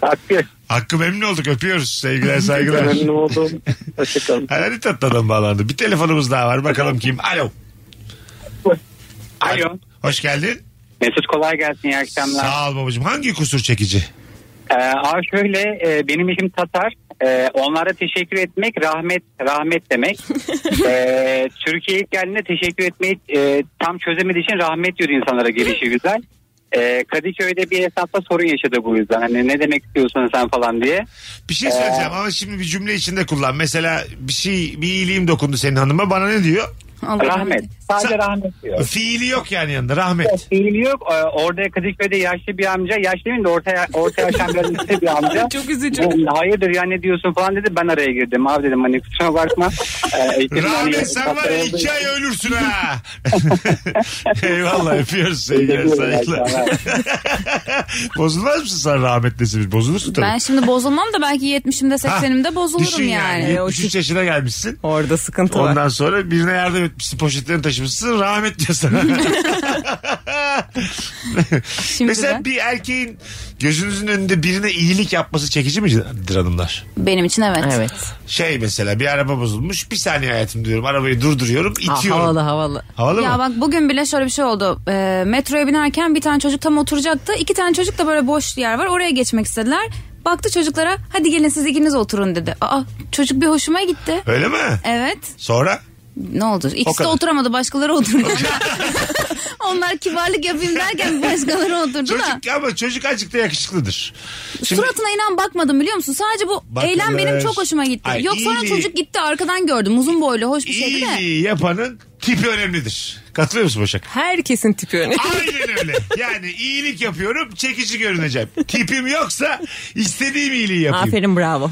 Speaker 17: Hakkı.
Speaker 3: Hakkı memnun olduk. Öpüyoruz. Sevgiler saygılar.
Speaker 17: Memnun oldum. Hoşçakalın.
Speaker 3: Hadi tatlı adam bağlandı. Bir telefonumuz daha var. Bakalım kim? Alo. Alo. Hoş geldin.
Speaker 18: Mesut kolay gelsin iyi akşamlar.
Speaker 3: Sağ ol babacığım. Hangi kusur çekici?
Speaker 18: Ee, abi şöyle e, benim işim Tatar. Ee, onlara teşekkür etmek rahmet rahmet demek. ee, Türkiye'ye ilk geldiğinde teşekkür etmeyi e, tam çözemediği için rahmet diyor insanlara gelişi güzel. Ee, Kadıköy'de bir hesapta sorun yaşadı bu yüzden. Hani ne demek istiyorsun sen falan diye.
Speaker 3: Bir şey söyleyeceğim ama şimdi bir cümle içinde kullan. Mesela bir şey bir iyiliğim dokundu senin hanıma. Bana ne diyor?
Speaker 18: rahmet. Sadece rahmet diyor.
Speaker 3: Fiili yok yani yanında. Rahmet.
Speaker 18: Evet, fiili yok. Ee, orada Kadıköy'de yaşlı bir amca, yaşlı demeyeyim de orta, orta yaşamların üstü bir amca.
Speaker 13: Çok üzücü.
Speaker 18: Bu, Hayırdır ya ne diyorsun falan dedi. Ben araya girdim. Abi dedim hani kusura bakma. Ee, eğitim hani-
Speaker 3: Rahmet sen var ya iki ay ölürsün ha. Eyvallah öpüyoruz sevgiler
Speaker 18: Teşekkür ederim.
Speaker 3: saygılar. Bozulmaz mısın sen rahmetlisi bir? Bozulursun tabii.
Speaker 4: ben şimdi bozulmam da belki 70'imde 80'imde
Speaker 3: Düşün
Speaker 4: bozulurum
Speaker 3: yani.
Speaker 4: yani.
Speaker 3: 73 yaşına gelmişsin.
Speaker 13: Orada sıkıntı
Speaker 3: var. Ondan sonra birine yardım etmişsin poşetlerini taşımışsın rahmet diyor sana. Mesela bir erkeğin gözünüzün önünde birine iyilik yapması çekici midir hanımlar?
Speaker 4: Benim için evet.
Speaker 3: Şey mesela bir araba bozulmuş bir saniye hayatım diyorum arabayı durduruyorum itiyorum.
Speaker 13: havalı, havalı.
Speaker 3: Havalı
Speaker 4: ya
Speaker 3: mı?
Speaker 4: bak bugün bile şöyle bir şey oldu. Ee, metroya binerken bir tane çocuk tam oturacaktı. İki tane çocuk da böyle boş yer var. Oraya geçmek istediler. Baktı çocuklara hadi gelin siz ikiniz oturun dedi. Aa çocuk bir hoşuma gitti.
Speaker 3: Öyle mi?
Speaker 4: Evet.
Speaker 3: Sonra?
Speaker 4: Ne oldu?
Speaker 3: O
Speaker 4: İkisi de
Speaker 3: kadar.
Speaker 4: oturamadı başkaları oturdu. Onlar kibarlık yapayım derken başkaları oturdu da.
Speaker 3: Çocuk ama çocuk azıcık da yakışıklıdır. Şimdi-
Speaker 4: Suratına inan bakmadım biliyor musun? Sadece bu
Speaker 3: Bakılır.
Speaker 4: eylem benim çok hoşuma gitti.
Speaker 3: Ay,
Speaker 4: Yok sonra
Speaker 3: iyi.
Speaker 4: çocuk gitti arkadan gördüm. Uzun boylu hoş bir şeydi de.
Speaker 3: İyiliği yapanın tipi önemlidir. Katılıyor musun Başak?
Speaker 13: Herkesin tipi önemli.
Speaker 3: Aynen öyle. Yani iyilik yapıyorum çekici görüneceğim. Tipim yoksa istediğim iyiliği yapayım.
Speaker 13: Aferin bravo.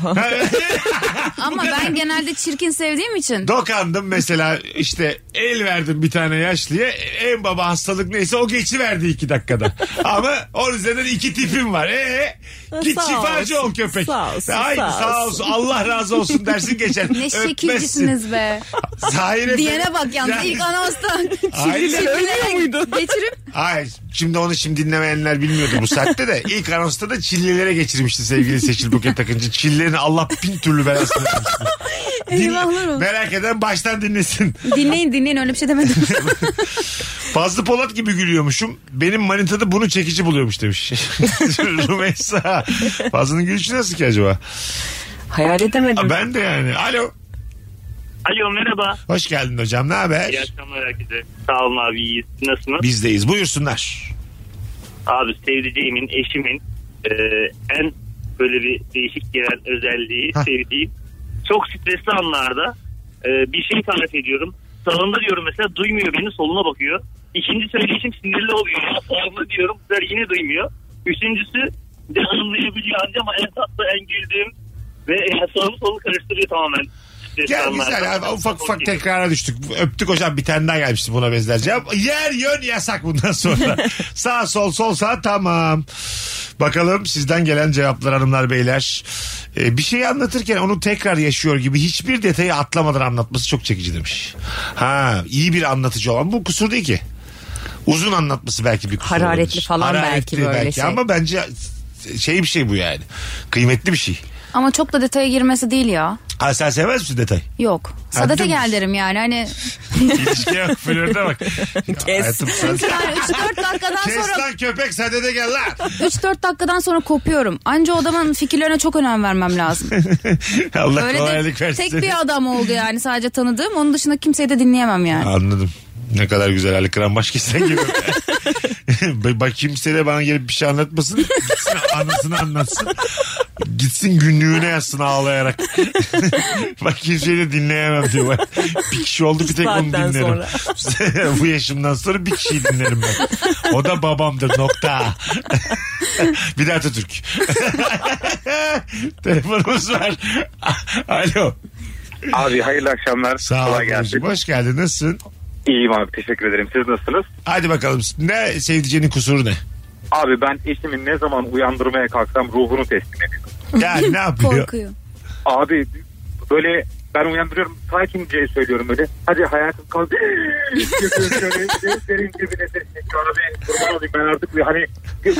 Speaker 4: Ama ben genelde çirkin sevdiğim için.
Speaker 3: Dokandım mesela işte el verdim bir tane yaşlıya en baba hastalık neyse o geçi verdi iki dakikada. Ama onun üzerinden iki tipim var. Ee, git
Speaker 13: Sağ
Speaker 3: şifacı
Speaker 13: olsun,
Speaker 3: ol köpek.
Speaker 13: sağ olsun,
Speaker 3: Ay,
Speaker 13: sağ
Speaker 3: sağ
Speaker 13: olsun.
Speaker 3: olsun. Allah razı olsun dersin geçer.
Speaker 4: Ne
Speaker 3: Öpmezsin.
Speaker 4: şekilcisiniz be.
Speaker 3: Zahire
Speaker 4: Diyene
Speaker 3: benim-
Speaker 4: bak yalnız
Speaker 3: Yani-
Speaker 4: ilk anonstan.
Speaker 3: Aynen.
Speaker 4: Çirkinlere Geçirip
Speaker 3: Hayır. Şimdi onu şimdi dinlemeyenler bilmiyordu bu saatte de. İlk anonsta da çillelere geçirmişti sevgili Seçil Buket Akıncı. Çillerini Allah bin türlü belasını versin.
Speaker 4: Eyvahlar olsun.
Speaker 3: Merak eden baştan dinlesin.
Speaker 4: dinleyin dinleyin öyle bir şey demedim.
Speaker 3: Fazlı Polat gibi gülüyormuşum. Benim manitada bunu çekici buluyormuş demiş. Rümeysa. Fazlı'nın gülüşü nasıl ki acaba?
Speaker 13: Hayal edemedim.
Speaker 3: Aa, Ben de yani. Alo.
Speaker 19: Alo merhaba.
Speaker 3: Hoş geldin hocam. Ne haber?
Speaker 19: İyi akşamlar herkese. Sağ olun abi iyiyiz. Nasılsınız?
Speaker 3: Bizdeyiz. Buyursunlar.
Speaker 19: Abi sevdiceğimin, eşimin e, en böyle bir değişik gelen özelliği sevdiğim. Çok stresli anlarda e, bir şey tarif ediyorum. Salonda diyorum mesela duymuyor beni soluna bakıyor. İkinci söyleyişim sinirli oluyor. Ya, Salonda diyorum bu sefer yine duymuyor. Üçüncüsü de anlayabiliyor anca ama en tatlı en güldüğüm ve e, sağımı solu karıştırıyor tamamen. stresli
Speaker 3: Gel
Speaker 19: anlarda.
Speaker 3: güzel abi ufak ufak tekrara düştük. Öptük hocam bir tane daha gelmişti buna benzer cevap. Yer yön yasak bundan sonra. sağ sol sol sağ tamam. Bakalım sizden gelen cevaplar hanımlar beyler. Ee, bir şeyi anlatırken onu tekrar yaşıyor gibi hiçbir detayı atlamadan anlatması çok çekici demiş. Ha iyi bir anlatıcı olan bu kusur değil ki. Uzun anlatması belki bir kusur
Speaker 5: Hararetli
Speaker 3: olabilir.
Speaker 5: falan belki böyle şey.
Speaker 3: Ama bence şey bir şey bu yani. Kıymetli bir şey.
Speaker 4: Ama çok da detaya girmesi değil ya.
Speaker 3: Ha sen sevmez misin detay?
Speaker 4: Yok.
Speaker 3: Ha,
Speaker 4: Sadete
Speaker 3: dümdüz.
Speaker 4: gel derim yani hani.
Speaker 3: İlişkiye bak flörde bak. Kes.
Speaker 4: Çünkü yani 3-4 dakikadan
Speaker 3: Kes
Speaker 4: sonra
Speaker 3: lan köpek sen de gel lan.
Speaker 4: 3-4 dakikadan sonra kopuyorum. Anca o adamın fikirlerine çok önem vermem lazım.
Speaker 3: Allah
Speaker 4: Öyle
Speaker 3: kolaylık
Speaker 4: de
Speaker 3: versin.
Speaker 4: tek bir adam oldu yani sadece tanıdığım. Onun dışında kimseyi de dinleyemem yani.
Speaker 3: Anladım. Ne kadar güzel Ali Kıran baş kesen gibi. Ba- Bak kimse de bana gelip bir şey anlatmasın. Gitsin anasını anlatsın. Gitsin günlüğüne yazsın ağlayarak. Bak kimseyi de dinleyemem diyor. Bak, bir kişi oldu bir tek onu
Speaker 2: Saatten
Speaker 3: dinlerim. Bu yaşımdan sonra bir kişiyi dinlerim ben. O da babamdır nokta. bir de Atatürk. Telefonumuz var. Alo.
Speaker 20: Abi hayırlı akşamlar.
Speaker 3: Sağ ol. Barış'ım. Hoş geldin. Nasılsın?
Speaker 20: İyiyim abi teşekkür ederim. Siz nasılsınız?
Speaker 3: Hadi bakalım. Ne sevdicenin kusuru ne?
Speaker 20: Abi ben eşimi ne zaman uyandırmaya kalksam ruhunu teslim ediyorum.
Speaker 3: Ya ne yapıyor?
Speaker 20: Abi böyle ben uyandırıyorum sakince söylüyorum böyle. Hadi hayatım kalk. Gözlerin gözlerin dibine sesini abi kurban olayım ben artık bir hani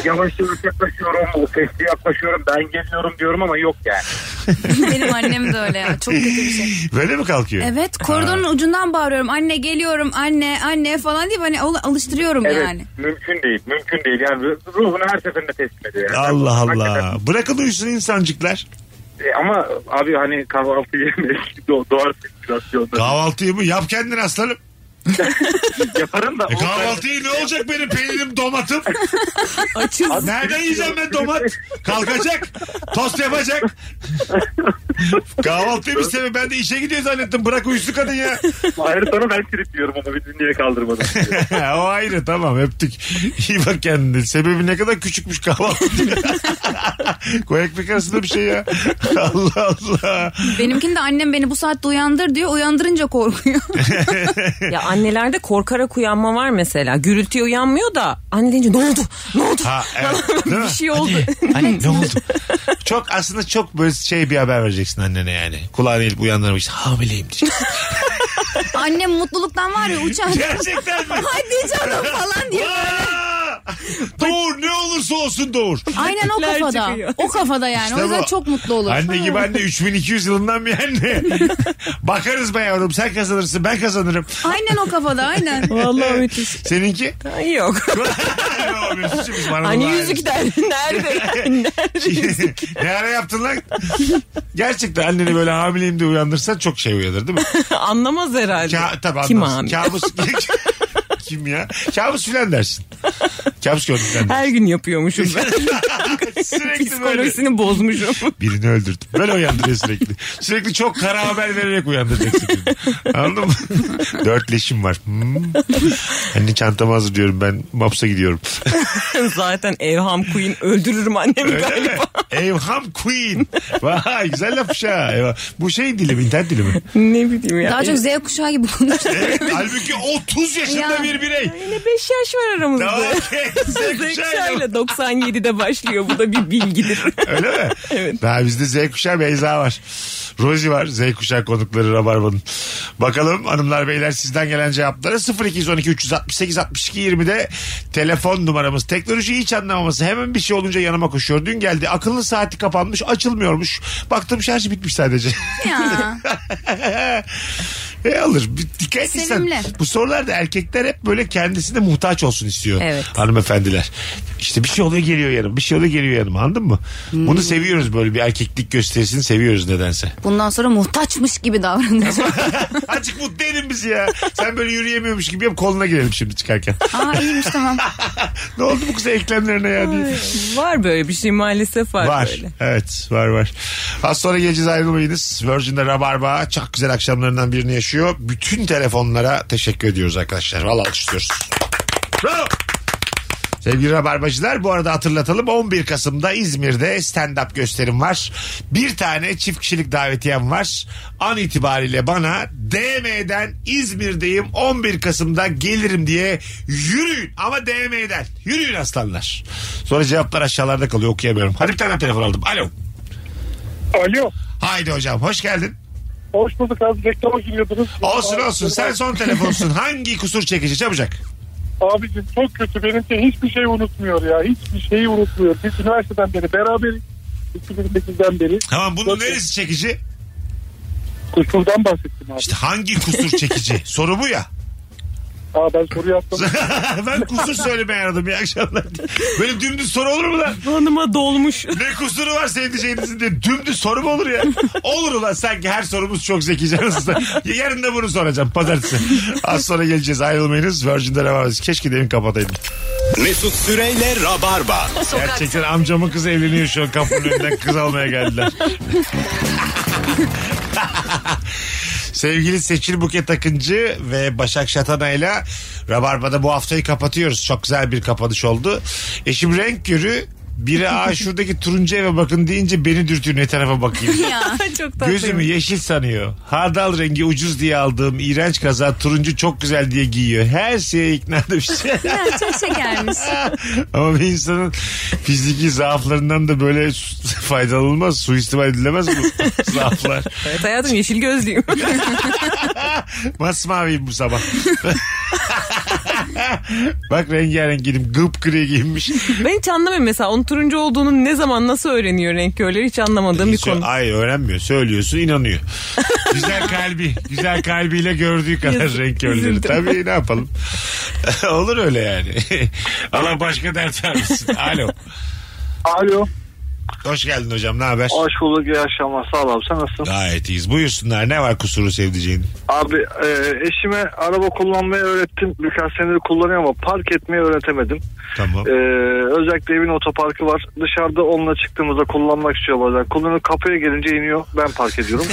Speaker 20: yavaş yavaş yaklaşıyorum. O sesli yaklaşıyorum ben geliyorum diyorum ama yok yani.
Speaker 4: Benim annem de öyle ya. Çok kötü bir şey.
Speaker 3: Böyle mi kalkıyor?
Speaker 4: Evet koridorun ucundan bağırıyorum. Anne geliyorum anne anne falan diye hani al- alıştırıyorum
Speaker 20: Evet
Speaker 4: yani.
Speaker 20: mümkün değil mümkün değil yani ruhunu her seferinde teslim ediyor. Yani.
Speaker 3: Allah Allah. Bırakın uyusun insancıklar.
Speaker 20: E, ama abi hani kahvaltı yemeyiz. Do- doğar sirkülasyonda.
Speaker 3: Kahvaltıyı mı? Yap kendin aslanım.
Speaker 20: Yaparım da.
Speaker 3: E, kahvaltıyı ne olacak benim peynirim domatım?
Speaker 13: Açız.
Speaker 3: Nereden yiyeceğim ben domat? Kalkacak. Tost yapacak. Kahvaltıyı bir sebebi. Ben de işe gidiyor zannettim. Bırak uyusun kadın ya.
Speaker 20: Hayır sana ben tripliyorum ama bir niye kaldırmadım.
Speaker 3: o ayrı tamam öptük. İyi bak kendine. Sebebi ne kadar küçükmüş kahvaltı. diye. Koyak ekmek arasında bir şey ya. Allah Allah.
Speaker 4: Benimkini de annem beni bu saatte uyandır diyor. Uyandırınca korkuyor.
Speaker 5: ya annelerde korkarak uyanma var mesela. Gürültüye uyanmıyor da anne deyince ne oldu? Ne oldu?
Speaker 3: Ha, evet. Değil mi?
Speaker 5: bir şey oldu.
Speaker 3: Anne ne oldu? Çok aslında çok böyle şey bir haber vereceksin annene yani. Kulağını eğilip uyandırmış. şey. Hamileyim diyecek.
Speaker 4: annem mutluluktan var ya uçan.
Speaker 3: Gerçekten mi?
Speaker 4: Hadi canım falan diye.
Speaker 3: Doğur ne olursa olsun doğur.
Speaker 4: Aynen o kafada. O kafada yani.
Speaker 3: İşte
Speaker 4: o yüzden
Speaker 3: bu.
Speaker 4: çok mutlu olur.
Speaker 3: Anne gibi
Speaker 4: Ha.
Speaker 3: anne 3200 yılından bir anne. Bakarız be yavrum sen kazanırsın ben kazanırım.
Speaker 4: Aynen o kafada aynen.
Speaker 3: Seninki?
Speaker 5: Yok.
Speaker 3: Yo, Mesut'cum, biz bana
Speaker 5: Hani
Speaker 3: bunu
Speaker 5: yüzük der. Nerede? Nerede yüzük?
Speaker 3: ne ara yaptın lan? Gerçekten anneni böyle hamileyim diye uyandırsan çok şey uyanır değil mi?
Speaker 5: Anlamaz herhalde.
Speaker 3: Ka- tabii
Speaker 5: Kim
Speaker 3: anlarsın.
Speaker 5: hamile?
Speaker 3: Kabus kim ya? Kabus filan dersin. Kabus gördüm ben.
Speaker 5: Her gün yapıyormuşum ben.
Speaker 3: Sürekli
Speaker 5: Psikolojisini bozmuşum.
Speaker 3: Birini öldürdüm. Böyle uyandırıyor sürekli. Sürekli çok kara haber vererek uyandıracaksın. birini. Anladın mı? Dört leşim var. Hmm. Anne çantamı hazırlıyorum ben. Maps'a gidiyorum.
Speaker 5: Zaten Evham Queen öldürürüm annemi
Speaker 3: Öyle mi?
Speaker 5: galiba.
Speaker 3: Evham Queen. Vay güzel lafmış ha. Eyvah. Bu şey dili mi? internet dili mi?
Speaker 5: ne bileyim ya.
Speaker 4: Daha çok Z kuşağı gibi konuşuyor.
Speaker 3: Evet, halbuki 30 yaşında
Speaker 4: Ya.
Speaker 3: bir birey.
Speaker 13: E,
Speaker 5: Yine 5 yaş var aramızda.
Speaker 3: Tamam, okey. Z
Speaker 5: Z
Speaker 3: kuşağı
Speaker 5: kuşağıyla 97'de başlıyor. Bu da bir bilgidir.
Speaker 3: Öyle mi? Evet. Daha bizde Z kuşağı Beyza var. Rozi var. Z kuşağı konukları Rabarba'nın. Bakalım hanımlar beyler sizden gelen cevaplara 0212 368 62 20'de telefon numaramız. Teknolojiyi hiç anlamaması hemen bir şey olunca yanıma koşuyor. Dün geldi akıllı saati kapanmış açılmıyormuş. Baktım şarjı bitmiş sadece.
Speaker 4: Ya.
Speaker 3: e alır. Bir dikkat etsen.
Speaker 4: Sevimli.
Speaker 3: Bu sorularda erkekler hep böyle kendisine muhtaç olsun istiyor.
Speaker 4: Evet.
Speaker 3: Hanımefendiler. İşte bir şey oluyor geliyor yanıma. Bir şey oluyor geliyor yanıma anladın mı?
Speaker 4: Hmm.
Speaker 3: Bunu seviyoruz böyle bir erkeklik gösterisini seviyoruz nedense.
Speaker 4: Bundan sonra muhtaçmış gibi davranacağım.
Speaker 3: Azıcık mutlu edin bizi ya. Sen böyle yürüyemiyormuş gibi yap koluna girelim şimdi çıkarken.
Speaker 4: Aa iyiymiş tamam.
Speaker 3: ne oldu bu kıza eklemlerine ya diye.
Speaker 13: Var böyle bir şey maalesef var,
Speaker 3: Var.
Speaker 13: böyle.
Speaker 3: Evet var var. Az sonra geleceğiz ayrılmayınız. Virgin'de Rabarba çok güzel akşamlarından birini yaşıyor. Bütün telefonlara teşekkür ediyoruz arkadaşlar. Valla alkışlıyoruz. Bravo. Sevgili Rabarbacılar bu arada hatırlatalım 11 Kasım'da İzmir'de stand-up gösterim var. Bir tane çift kişilik davetiyem var. An itibariyle bana DM'den İzmir'deyim 11 Kasım'da gelirim diye yürüyün ama DM'den yürüyün aslanlar. Sonra cevaplar aşağılarda kalıyor okuyamıyorum. Hadi bir tane telefon aldım. Alo.
Speaker 20: Alo.
Speaker 3: Haydi hocam hoş geldin.
Speaker 20: Hoş bulduk abi reklama giriyordunuz.
Speaker 3: Olsun olsun sen son telefonsun. Hangi kusur çekici çabucak?
Speaker 20: Abicim çok kötü benimki hiçbir şey unutmuyor ya. Hiçbir şeyi unutmuyor. Biz üniversiteden beri beraberiz. 2008'den beri.
Speaker 3: Tamam bunun neresi çekici?
Speaker 20: Kusurdan bahsettim abi.
Speaker 3: İşte hangi kusur çekici? Soru bu ya.
Speaker 20: Aa ben soruyu atladım.
Speaker 3: ben kusur söylemeye aradım iyi akşamlar. Böyle dümdüz soru olur mu lan?
Speaker 13: Hanıma dolmuş.
Speaker 3: Ne kusuru var senin diyeceğinizin diye dümdüz soru mu olur ya? Olur ulan sanki her sorumuz çok zekice aslında. Yarın da bunu soracağım pazartesi. Az sonra geleceğiz ayrılmayınız. Virgin'de ne var? Keşke demin kapataydım.
Speaker 2: Mesut Süreyle Rabarba.
Speaker 3: Gerçekten amcamın kızı evleniyor şu an kapının önünden kız almaya geldiler. Sevgili Seçil Buket Akıncı ve Başak Şatana ile Rabarba'da bu haftayı kapatıyoruz. Çok güzel bir kapanış oldu. Eşim renk görü biri aa şuradaki turuncu eve bakın deyince beni dürtüyor ne tarafa bakayım.
Speaker 13: Çok tatlı.
Speaker 3: Gözümü yeşil sanıyor. Hardal rengi ucuz diye aldığım iğrenç kaza turuncu çok güzel diye giyiyor. Her şeye ikna etmiş.
Speaker 4: ya, çok şey şekermiş.
Speaker 3: Ama bir insanın fiziki zaaflarından da böyle faydalanılmaz, suistimal edilemez bu zaaflar.
Speaker 13: Evet hayatım yeşil gözlüyüm.
Speaker 3: Masmaviyim bu sabah. Bak rengarenk giydim. Gıp gri giyinmiş.
Speaker 13: ben hiç anlamıyorum mesela onun turuncu olduğunu ne zaman nasıl öğreniyor renk körleri hiç anlamadığım bir konu.
Speaker 3: Ay öğrenmiyor. Söylüyorsun inanıyor. güzel kalbi. Güzel kalbiyle gördüğü kadar
Speaker 13: Yazık,
Speaker 3: renk körleri.
Speaker 13: üzüldüm.
Speaker 3: Tabii ne yapalım. Olur öyle yani. Allah başka dert vermesin. Alo.
Speaker 20: Alo.
Speaker 3: Hoş geldin hocam. Ne haber?
Speaker 20: Hoş bulduk iyi akşamlar sağ ol abi sen nasılsın?
Speaker 3: Gayet iyiyiz. Buyursunlar. Ne var kusuru sevdiceğin?
Speaker 20: Abi e, eşime araba kullanmayı öğrettim. Birkaç senedir kullanıyor ama park etmeyi öğretemedim.
Speaker 3: Tamam.
Speaker 20: E, özellikle evin otoparkı var. Dışarıda onunla çıktığımızda kullanmak istiyor bazen. Kullanıyor kapıya gelince iniyor. Ben park ediyorum.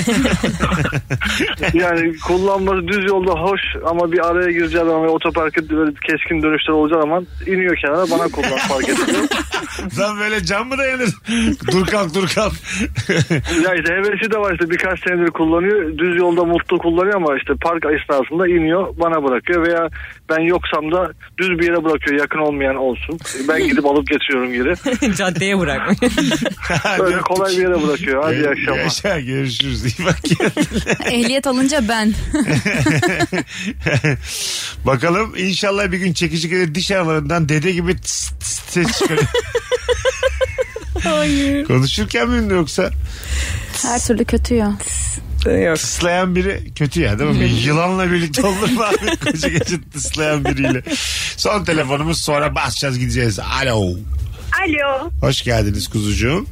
Speaker 20: yani kullanması düz yolda hoş ama bir araya gireceği zaman ve otoparkı böyle keskin dönüşler olacağı zaman iniyor kenara bana kullan park ediyor.
Speaker 3: Sen böyle can mı dayanır? dur kalk dur kalk.
Speaker 20: ya işte hevesi de var işte birkaç senedir kullanıyor. Düz yolda mutlu kullanıyor ama işte park esnasında iniyor bana bırakıyor veya ben yoksam da düz bir yere bırakıyor yakın olmayan olsun. Ben gidip alıp getiriyorum geri.
Speaker 13: Caddeye bırakmış.
Speaker 20: Böyle kolay bir yere bırakıyor. Hadi iyi akşamlar.
Speaker 3: Ee, Yaşa görüşürüz. İyi bak.
Speaker 4: Ehliyet alınca ben.
Speaker 3: Bakalım inşallah bir gün çekici gelir diş aralarından dede gibi tıs tıs ses çıkarıyor.
Speaker 4: Hayır.
Speaker 3: Konuşurken mi ünlü yoksa?
Speaker 4: Her türlü kötü ya.
Speaker 3: Tıslayan biri kötü ya değil mi? Bir yılanla birlikte olur mu abi? Koca gece tıslayan biriyle. Son telefonumuz sonra basacağız gideceğiz. Alo.
Speaker 10: Alo.
Speaker 3: Hoş geldiniz kuzucuğum.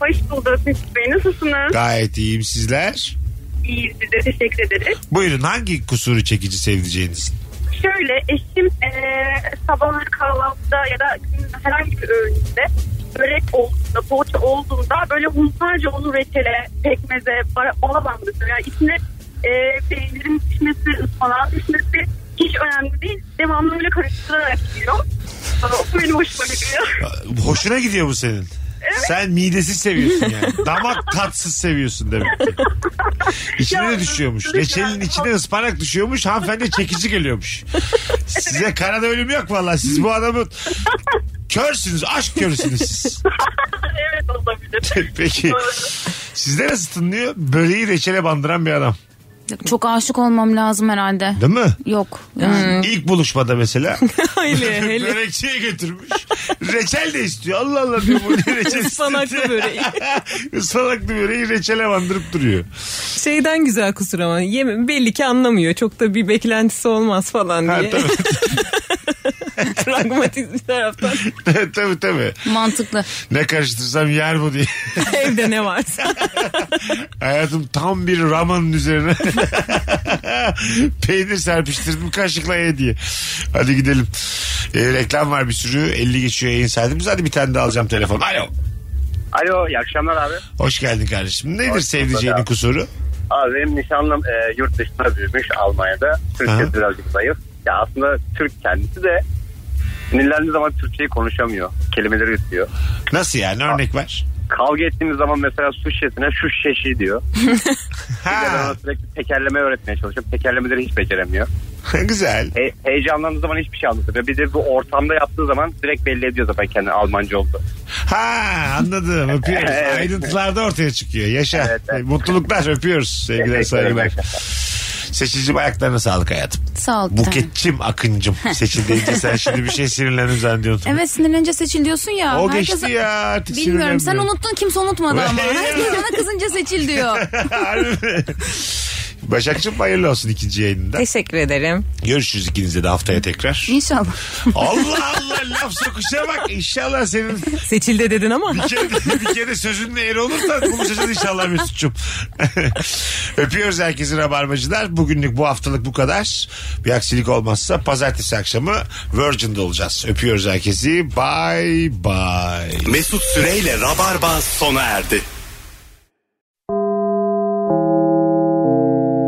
Speaker 10: Hoş bulduk Mesut Bey. Nasılsınız?
Speaker 3: Gayet iyiyim sizler.
Speaker 10: İyiyiz biz de teşekkür ederiz.
Speaker 3: Buyurun hangi kusuru çekici sevdiceğiniz?
Speaker 10: Şöyle eşim eee sabahları kahvaltıda ya da günün herhangi bir öğünde börek olduğunda, poğaça olduğunda böyle hunharca onu reçele, pekmeze, bara- bala bandırıyor. Yani içine eee peynirin pişmesi, ıspanağın pişmesi hiç önemli değil. Devamlı öyle karıştırarak yiyor. Aa, O benim hoşuma gidiyor.
Speaker 3: Hoşuna gidiyor bu senin. Sen midesiz seviyorsun yani. Damak tatsız seviyorsun demek ki. İçine de düşüyormuş. Reçelin içine ıspanak düşüyormuş. Hanımefendi çekici geliyormuş. Size karada ölüm yok vallahi. Siz bu adamın körsünüz. Aşk körsünüz siz.
Speaker 10: evet olabilir.
Speaker 3: Peki. Sizde nasıl tınlıyor? Böreği reçele bandıran bir adam.
Speaker 4: Çok aşık olmam lazım herhalde.
Speaker 3: Değil mi?
Speaker 4: Yok.
Speaker 3: İlk buluşmada mesela.
Speaker 13: Hele, hele.
Speaker 3: Börekçiye götürmüş. Reçel de istiyor. Allah Allah diyor bu ne reçel
Speaker 13: Ispanaklı böreği.
Speaker 3: Ispanaklı böreği reçele bandırıp duruyor.
Speaker 13: Şeyden güzel kusur ama yeme, belli ki anlamıyor. Çok da bir beklentisi olmaz falan diye.
Speaker 21: Pragmatik bir taraftan.
Speaker 3: tabii tabii.
Speaker 4: Mantıklı.
Speaker 3: Ne karıştırsam yer bu diye.
Speaker 21: Evde ne varsa.
Speaker 3: Hayatım tam bir ramanın üzerine peynir serpiştirdim kaşıkla ye diye. Hadi gidelim. Ee, reklam var bir sürü. 50 geçiyor yayın saatimiz. Hadi bir tane daha alacağım telefon. Alo.
Speaker 6: Alo iyi akşamlar abi.
Speaker 3: Hoş geldin kardeşim. Nedir
Speaker 6: Hoş bulduk
Speaker 3: sevdiceğinin
Speaker 6: abi.
Speaker 3: kusuru?
Speaker 6: Abi benim nişanlım e, yurt dışında büyümüş Almanya'da. Türkçe birazcık zayıf. Ya aslında Türk kendisi de sinirlendiği zaman Türkçeyi konuşamıyor. Kelimeleri yutuyor.
Speaker 3: Nasıl yani örnek ver.
Speaker 6: Kavga ettiğimiz zaman mesela su şişesine şu şişeşi diyor. Bir de ben ona sürekli tekerleme öğretmeye çalışıyorum. Tekerlemeleri hiç beceremiyor.
Speaker 3: Güzel.
Speaker 6: He, heyecanlandığı zaman hiçbir şey anlatamıyor. Bir de bu ortamda yaptığı zaman direkt belli ediyor zaten kendini Almanca oldu.
Speaker 3: Ha anladım öpüyoruz.
Speaker 6: Evet.
Speaker 3: Ayrıntılarda ortaya çıkıyor. Yaşa. Mutluluklar öpüyoruz. Sevgiler saygılar. Seçicim ayaklarına sağlık hayatım.
Speaker 4: Sağ ol. bir tane.
Speaker 3: Buketçim akıncım. Seçil deyince sen şimdi bir şey sinirlendim zannediyordun.
Speaker 4: Evet sinirlenince seçil diyorsun ya.
Speaker 3: O geçti ya, artık
Speaker 4: Bilmiyorum sen
Speaker 3: sinirlenmiyorum.
Speaker 4: unuttun kimse unutmadı ama. Herkes bana kızınca seçil diyor.
Speaker 3: Harbi mi? Başakçım hayırlı olsun ikinci yayınında.
Speaker 5: Teşekkür ederim.
Speaker 3: Görüşürüz ikinize de haftaya tekrar.
Speaker 4: İnşallah.
Speaker 3: Allah Allah laf sokuşa bak. İnşallah senin
Speaker 5: Seçilde dedin ama.
Speaker 3: bir kere, bir kere sözünle eri olursa konuşacağız inşallah Mesut'cum. Öpüyoruz herkesi rabarbacılar. Bugünlük bu haftalık bu kadar. Bir aksilik olmazsa pazartesi akşamı Virgin'de olacağız. Öpüyoruz herkesi. Bye bye.
Speaker 22: Mesut Süreyle Rabarba sona erdi.